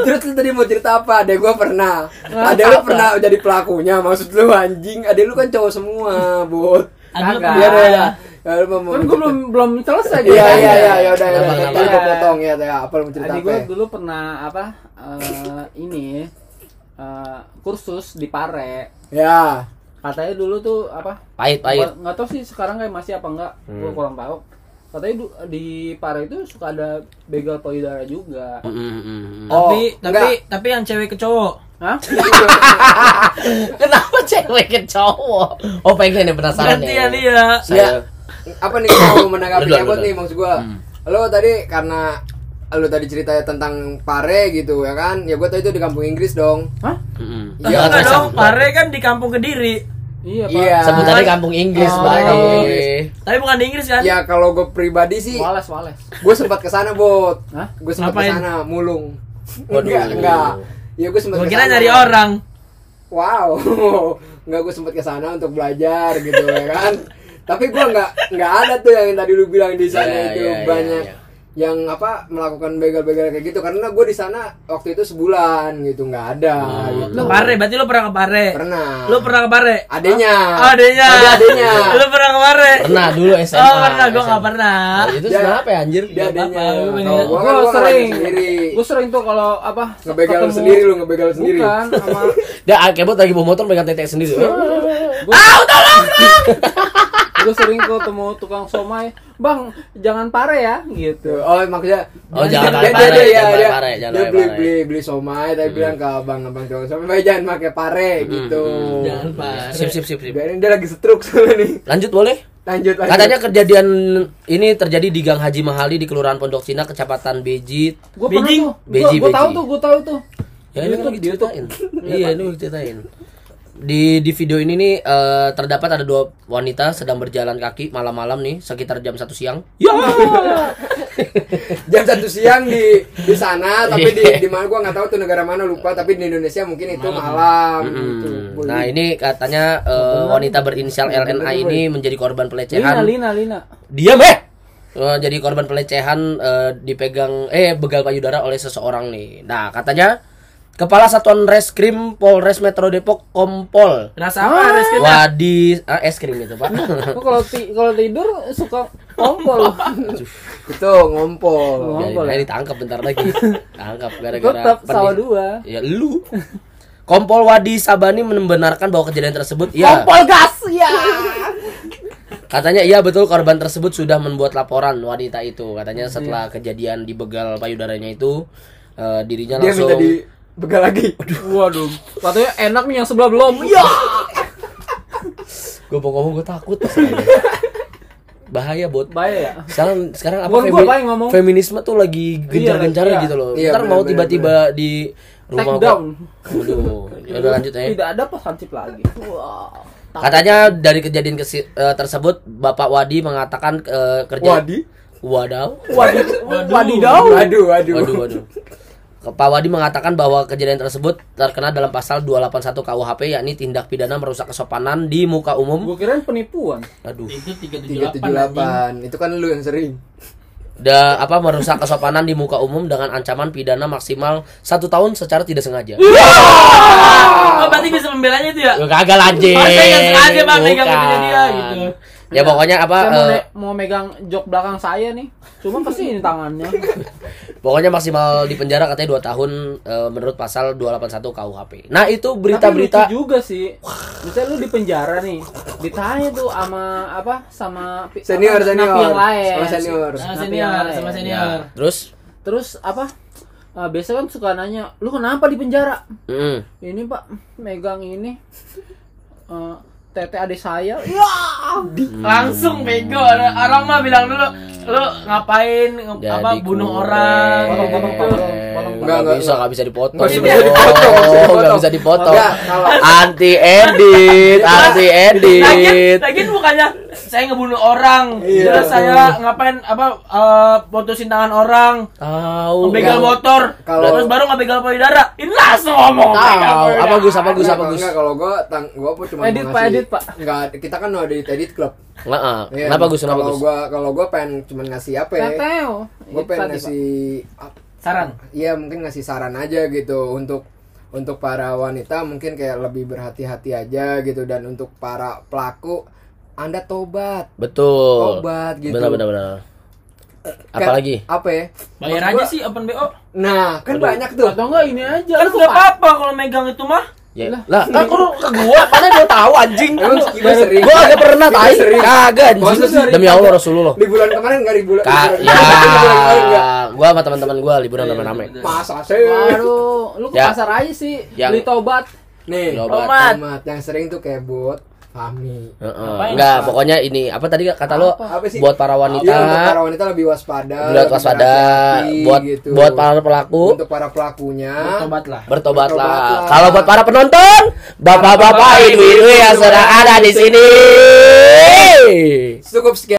[SPEAKER 1] Terus lu tadi mau cerita apa? Ada gue pernah. Ada lu pernah jadi pelakunya. Maksud lu anjing. Ada lu kan cowok semua, Bot.
[SPEAKER 2] Ada lu
[SPEAKER 4] Kagak.
[SPEAKER 1] Iya,
[SPEAKER 2] pernah.
[SPEAKER 1] iya, iya. Ya, lu mau
[SPEAKER 4] Nah. Kan gua belum belum
[SPEAKER 1] Iya,
[SPEAKER 4] selesai
[SPEAKER 1] iya, iya,
[SPEAKER 4] ceritanya.
[SPEAKER 1] iya, ya udah, ya udah.
[SPEAKER 3] Kenapa,
[SPEAKER 1] Tadi
[SPEAKER 4] kenapa?
[SPEAKER 1] gue potong ya, ya. Apa lu mau cerita
[SPEAKER 4] Adik
[SPEAKER 1] apa?
[SPEAKER 4] gue
[SPEAKER 1] ya?
[SPEAKER 4] dulu pernah apa eh, ini eh, kursus di Pare.
[SPEAKER 1] Ya.
[SPEAKER 4] Katanya dulu tuh apa?
[SPEAKER 3] Pahit, pahit.
[SPEAKER 4] Nggak- Nggak tahu sih sekarang kayak masih apa enggak? Gue
[SPEAKER 1] Hmm.
[SPEAKER 4] kurang tahu. Katanya du- di Pare itu suka ada begal payudara juga.
[SPEAKER 3] Mm, mm, mm, mm.
[SPEAKER 1] Oh,
[SPEAKER 2] Tapi tapi
[SPEAKER 1] enggak.
[SPEAKER 2] tapi yang cewek ke cowok.
[SPEAKER 4] Hah?
[SPEAKER 3] Kenapa cewek ke cowok? Oh pengen nih penasaran nih.
[SPEAKER 2] Gantian iya.
[SPEAKER 1] Ya.
[SPEAKER 3] Saya
[SPEAKER 1] Apa nih kalau mau menanggapi
[SPEAKER 3] Lu duluan,
[SPEAKER 1] Ebot
[SPEAKER 3] lu
[SPEAKER 1] nih maksud gue? Lu tadi karena lu tadi ceritanya tentang pare gitu ya kan ya gue tau itu di kampung Inggris dong
[SPEAKER 4] Hah?
[SPEAKER 3] Mm-mm.
[SPEAKER 1] Iya,
[SPEAKER 2] Iya
[SPEAKER 1] Pak.
[SPEAKER 2] dong, Pare kan di kampung Kediri.
[SPEAKER 4] Iya, Pak.
[SPEAKER 1] iya
[SPEAKER 3] Sebutannya kampung Inggris,
[SPEAKER 4] Oh.
[SPEAKER 3] Pak.
[SPEAKER 1] Kampung
[SPEAKER 3] Iya.
[SPEAKER 1] Inggris.
[SPEAKER 2] Tapi bukan di Inggris kan?
[SPEAKER 1] ya kalau gue pribadi sih
[SPEAKER 4] Wales, Wales.
[SPEAKER 1] gue sempat kesana bot
[SPEAKER 4] Hah?
[SPEAKER 1] gue sempat
[SPEAKER 2] Ngapain?
[SPEAKER 1] kesana mulung
[SPEAKER 3] Waduh.
[SPEAKER 1] enggak enggak ya gue sempat
[SPEAKER 2] Gua kira
[SPEAKER 1] kesana.
[SPEAKER 2] nyari orang.
[SPEAKER 1] wow (laughs) enggak gue sempat kesana untuk belajar gitu ya kan tapi gue enggak enggak ada tuh yang tadi lu bilang di sana
[SPEAKER 3] Iya,
[SPEAKER 1] itu
[SPEAKER 3] iya, iya,
[SPEAKER 1] banyak
[SPEAKER 3] iya.
[SPEAKER 1] yang apa melakukan begal-begal kayak gitu karena gue di sana waktu itu sebulan gitu nggak ada
[SPEAKER 3] Hmm.
[SPEAKER 1] gitu.
[SPEAKER 2] Pare, berarti lu pernah ke Pare.
[SPEAKER 1] pernah
[SPEAKER 2] Lu pernah ke Pare?
[SPEAKER 1] adanya
[SPEAKER 2] Oh, adanya.
[SPEAKER 1] ada adanya
[SPEAKER 2] Lu pernah ke Pare?
[SPEAKER 3] Pernah dulu SMA.
[SPEAKER 2] Oh, pernah. Gua
[SPEAKER 3] SMA.
[SPEAKER 2] nggak pernah.
[SPEAKER 3] Nah, itu
[SPEAKER 1] Dia-
[SPEAKER 3] kenapa ya anjir?
[SPEAKER 1] dia adanya
[SPEAKER 2] apa-apa, gua
[SPEAKER 1] Kalau
[SPEAKER 2] pengen-
[SPEAKER 1] gua
[SPEAKER 4] Gua
[SPEAKER 1] kan gua
[SPEAKER 4] sering.
[SPEAKER 1] sering sendiri
[SPEAKER 4] Gue sering tuh kalau apa?
[SPEAKER 1] ngebegal
[SPEAKER 4] ketemu-
[SPEAKER 1] sendiri lu ngebegal sendiri
[SPEAKER 4] Bukan
[SPEAKER 1] (laughs)
[SPEAKER 4] sama
[SPEAKER 3] Dia ah, kebot lagi bawa motor pegang tetek sendiri.
[SPEAKER 4] Ah, (laughs) gue sering kok ketemu tukang somai, "Bang, jangan pare ya." gitu.
[SPEAKER 1] Tuh, oh maksudnya
[SPEAKER 3] Oh,
[SPEAKER 1] dia-
[SPEAKER 3] jangan pakai
[SPEAKER 1] dia, dia,
[SPEAKER 3] pare,
[SPEAKER 1] dia,
[SPEAKER 3] jangan
[SPEAKER 1] dia,
[SPEAKER 3] pakai pare, jangan
[SPEAKER 1] ya, dia
[SPEAKER 3] pakai
[SPEAKER 1] beli
[SPEAKER 3] pare. Hmm.
[SPEAKER 1] beli beli somai tapi bilang ke abang abang cowok somai "Bay, jangan pakai pare gitu
[SPEAKER 2] Jangan Pare.
[SPEAKER 3] Ah, Sip sip sip sip.
[SPEAKER 1] biarin dia lagi setruk soalnya nih
[SPEAKER 3] Lanjut boleh?
[SPEAKER 1] lanjut lanjut
[SPEAKER 3] Katanya kejadian ini terjadi di Gang Haji Mahali di Kelurahan Pondok Cina, Kecamatan Beji.
[SPEAKER 4] Gue pernah
[SPEAKER 2] Beijing.
[SPEAKER 4] tuh.
[SPEAKER 3] Beiji,
[SPEAKER 4] Gue tahu
[SPEAKER 3] Beiji.
[SPEAKER 4] tuh, gue tahu tuh.
[SPEAKER 3] Ya ini
[SPEAKER 4] YouTube,
[SPEAKER 3] kan diceritain. Iya, ini gua ceritain. Di di video ini nih eh, terdapat ada dua wanita sedang berjalan kaki malam-malam nih sekitar jam satu siang.
[SPEAKER 1] jam satu siang di di sana tapi
[SPEAKER 3] (laughs)
[SPEAKER 1] di di mana gua nggak tahu tuh negara mana lupa tapi di Indonesia mungkin itu malam gitu
[SPEAKER 3] Hmm. Nah ini katanya eh, wanita berinisial LNA ini menjadi korban
[SPEAKER 4] Lina,
[SPEAKER 3] pelecehan.
[SPEAKER 4] Lina, Lina.
[SPEAKER 3] Diam eh. Eh, jadi korban pelecehan eh, dipegang eh begal payudara oleh seseorang nih. Nah katanya kepala satuan reskrim Polres Metro Depok Kompol
[SPEAKER 2] Rasa apa? Res?
[SPEAKER 3] Wadi ah, es krim itu pak. (laughs)
[SPEAKER 4] Lu kalau ti- kalau tidur suka (laughs) kompol.
[SPEAKER 1] itu ngompol
[SPEAKER 3] Biarin
[SPEAKER 4] Kompol
[SPEAKER 3] aja
[SPEAKER 4] ya?
[SPEAKER 3] ditangkap bentar
[SPEAKER 4] (laughs)
[SPEAKER 3] lagi. Tangkap gara-gara.
[SPEAKER 4] Tetap
[SPEAKER 3] penis.
[SPEAKER 4] sawa dua.
[SPEAKER 3] Ya lu. Kompol Wadi Sabani membenarkan bahwa kejadian tersebut ya.
[SPEAKER 4] Iya. Kompol gas ya.
[SPEAKER 3] Katanya iya betul korban tersebut sudah membuat laporan wanita itu. Katanya
[SPEAKER 4] Hmm, iya.
[SPEAKER 3] setelah kejadian dibegal payudaranya itu eh, dirinya
[SPEAKER 1] dia minta
[SPEAKER 3] langsung
[SPEAKER 1] di begal lagi
[SPEAKER 4] Waduh, katanya enak nih yang sebelah belum. Ya.
[SPEAKER 3] gue mau ngomong gue takut. Bahaya bot.
[SPEAKER 4] Bahaya ya.
[SPEAKER 3] Sekarang sekarang apa
[SPEAKER 4] Bukan gua, Pak, yang ngomong.
[SPEAKER 3] feminisme tuh lagi gencar-gencarnya
[SPEAKER 4] iya.
[SPEAKER 3] gitu loh.
[SPEAKER 1] Iya,
[SPEAKER 3] Ntar mau
[SPEAKER 1] bener-bener.
[SPEAKER 3] tiba-tiba di rumah
[SPEAKER 4] Take down.
[SPEAKER 3] Waduh, ya
[SPEAKER 4] (laughs)
[SPEAKER 3] udah lanjut ya.
[SPEAKER 4] Tidak ada pasansip lagi. Wow.
[SPEAKER 3] Katanya dari kejadian kesi- eh, tersebut Bapak Wadi mengatakan eh, kerja
[SPEAKER 1] Wadi
[SPEAKER 3] Wadaw.
[SPEAKER 4] Waduh, wadidaw.
[SPEAKER 1] waduh
[SPEAKER 2] Iya.
[SPEAKER 1] waduh
[SPEAKER 3] Waduh waduh. Pak Wadi mengatakan bahwa kejadian tersebut terkena dalam pasal 281 KUHP yakni tindak pidana merusak kesopanan di muka umum.
[SPEAKER 4] Gue kirain penipuan.
[SPEAKER 3] Aduh.
[SPEAKER 2] Itu
[SPEAKER 1] 378
[SPEAKER 2] 378.
[SPEAKER 1] itu kan lu yang sering
[SPEAKER 3] Da, apa merusak kesopanan di muka umum dengan ancaman pidana maksimal satu tahun secara tidak sengaja.
[SPEAKER 2] Iya. Oh, berarti bisa membelanya itu ya?
[SPEAKER 3] Ya, Kagak lanjut.
[SPEAKER 2] Oh, saya nggak sengaja, Bang, megang
[SPEAKER 3] Bukan.
[SPEAKER 2] punya dia, gitu.
[SPEAKER 3] Ya pokoknya apa
[SPEAKER 4] Saya mau,
[SPEAKER 3] eh,
[SPEAKER 4] ne- mau megang jok belakang saya nih. Cuma pasti ini
[SPEAKER 1] (laughs)
[SPEAKER 4] tangannya.
[SPEAKER 3] Pokoknya maksimal di penjara katanya 2 tahun eh, menurut pasal 281 KUHP. Nah, itu
[SPEAKER 4] Tapi lucu
[SPEAKER 3] berita-berita
[SPEAKER 4] juga sih. Misalnya lu di penjara nih, ditanya tuh sama apa sama pi-
[SPEAKER 1] Senior,
[SPEAKER 4] apa,
[SPEAKER 1] senior.
[SPEAKER 4] napi yang lain.
[SPEAKER 1] Sama senior.
[SPEAKER 2] Sama
[SPEAKER 4] Napi
[SPEAKER 2] senior,
[SPEAKER 4] yang lain.
[SPEAKER 2] sama senior.
[SPEAKER 3] ya. Terus
[SPEAKER 4] Terus apa? eh, biasanya kan suka nanya, lu kenapa di penjara?
[SPEAKER 3] mm,
[SPEAKER 4] Ini pak megang ini eh, tete adik saya.
[SPEAKER 1] Iya.
[SPEAKER 2] Langsung bego. Orang mah bilang dulu, lu ngapain nge-
[SPEAKER 3] jadi
[SPEAKER 2] apa bunuh
[SPEAKER 3] kurang. Oh,
[SPEAKER 2] orang
[SPEAKER 4] Potong, potong,
[SPEAKER 2] gitu.
[SPEAKER 4] potong.
[SPEAKER 3] Nggak
[SPEAKER 1] Nggak, nggak,
[SPEAKER 3] bisa,
[SPEAKER 1] nggak.
[SPEAKER 3] nggak bisa dipotong.
[SPEAKER 1] Nggak bisa
[SPEAKER 3] dipotong.
[SPEAKER 1] dipotong,
[SPEAKER 3] Nggak bisa dipotong.
[SPEAKER 1] Nggak, kalau-
[SPEAKER 3] Anti edit, anti
[SPEAKER 2] Lagian,
[SPEAKER 3] edit.
[SPEAKER 2] lagian bukannya saya ngebunuh orang,
[SPEAKER 1] Iya.
[SPEAKER 2] terus saya ngapain apa eh, putusin tangan orang,
[SPEAKER 3] Tahu.
[SPEAKER 2] begal
[SPEAKER 1] Kalau-
[SPEAKER 2] motor,
[SPEAKER 1] kalau-
[SPEAKER 2] terus baru nggak begal payudara. Ini langsung ngomong. begal
[SPEAKER 3] Tahu. Apa
[SPEAKER 2] payudara.
[SPEAKER 3] Gus, apa Gus,
[SPEAKER 1] Enggak,
[SPEAKER 3] apa Gus?
[SPEAKER 1] enggak kalau gua tang gua apa cuma
[SPEAKER 4] Edit,
[SPEAKER 1] mau
[SPEAKER 4] Pak,
[SPEAKER 1] ngasih-
[SPEAKER 4] edit, Pak.
[SPEAKER 1] enggak kita kan udah di edit club
[SPEAKER 3] Nggak, ah.
[SPEAKER 1] Iya,
[SPEAKER 3] Kenapa Gus? Kenapa
[SPEAKER 1] kalau
[SPEAKER 3] Gus?
[SPEAKER 1] gua kalau gua pengen cuma ngasih apa ya
[SPEAKER 4] Teteo.
[SPEAKER 1] gua pengen
[SPEAKER 4] Itu tadi, Pak.
[SPEAKER 1] ngasih ap-
[SPEAKER 2] Saran.
[SPEAKER 1] Iya mungkin ngasih saran aja gitu untuk untuk para wanita mungkin kayak lebih berhati-hati aja gitu dan untuk para pelaku anda tobat
[SPEAKER 3] Betul.
[SPEAKER 1] Obat gitu.
[SPEAKER 3] Benar, benar, benar.
[SPEAKER 1] Kayak-
[SPEAKER 3] Apalagi?
[SPEAKER 1] apa ya
[SPEAKER 2] Bayar
[SPEAKER 1] Maksud
[SPEAKER 2] aja
[SPEAKER 1] gua-
[SPEAKER 2] sih open BO.
[SPEAKER 1] nah kan banyak tuh
[SPEAKER 4] Atau enggak ini aja.
[SPEAKER 2] Kan
[SPEAKER 4] lu
[SPEAKER 2] nggak
[SPEAKER 4] Pak.
[SPEAKER 2] apa-apa kalau megang itu mah.
[SPEAKER 3] Ya. Lah, kan kok lu ke gua? Mana gua tahu anjing?
[SPEAKER 1] Emang kita sering.
[SPEAKER 3] Gua agak pernah
[SPEAKER 1] Kita
[SPEAKER 3] tai.
[SPEAKER 1] sering.
[SPEAKER 3] Kagak anjing.
[SPEAKER 1] Masa sering?
[SPEAKER 3] Demi Allah Rasulullah.
[SPEAKER 1] di bulan kemarin nggak di bulan di
[SPEAKER 3] Kak,
[SPEAKER 1] bulan-
[SPEAKER 3] ya.
[SPEAKER 1] (laughs) di bulan kemarin nggak.
[SPEAKER 3] Gua sama teman-teman gua
[SPEAKER 1] Iya,
[SPEAKER 3] liburan rame-rame.
[SPEAKER 1] masa sih
[SPEAKER 4] Waduh, lu ke
[SPEAKER 3] Ya.
[SPEAKER 4] pasar aja sih
[SPEAKER 3] Yang-
[SPEAKER 4] beli tobat.
[SPEAKER 1] nih
[SPEAKER 3] Tobat.
[SPEAKER 1] tobat yang sering tuh kayak bot Fahmi.
[SPEAKER 2] Ngapain?
[SPEAKER 3] Enggak, pokoknya ini apa tadi kata lo
[SPEAKER 1] Apa sih?
[SPEAKER 3] buat para wanita,
[SPEAKER 1] Iya, untuk para wanita lebih waspada.
[SPEAKER 3] buat waspada,
[SPEAKER 1] berhati-hati,
[SPEAKER 3] buat
[SPEAKER 1] gitu.
[SPEAKER 3] buat para pelaku
[SPEAKER 1] untuk para pelakunya.
[SPEAKER 2] Tobatlah.
[SPEAKER 3] bertobatlah.
[SPEAKER 1] Bertobatlah.
[SPEAKER 3] Kalau buat para penonton, bapak-bapak, ibu-ibu yang sedang ada di sini.
[SPEAKER 1] Cukup sekian.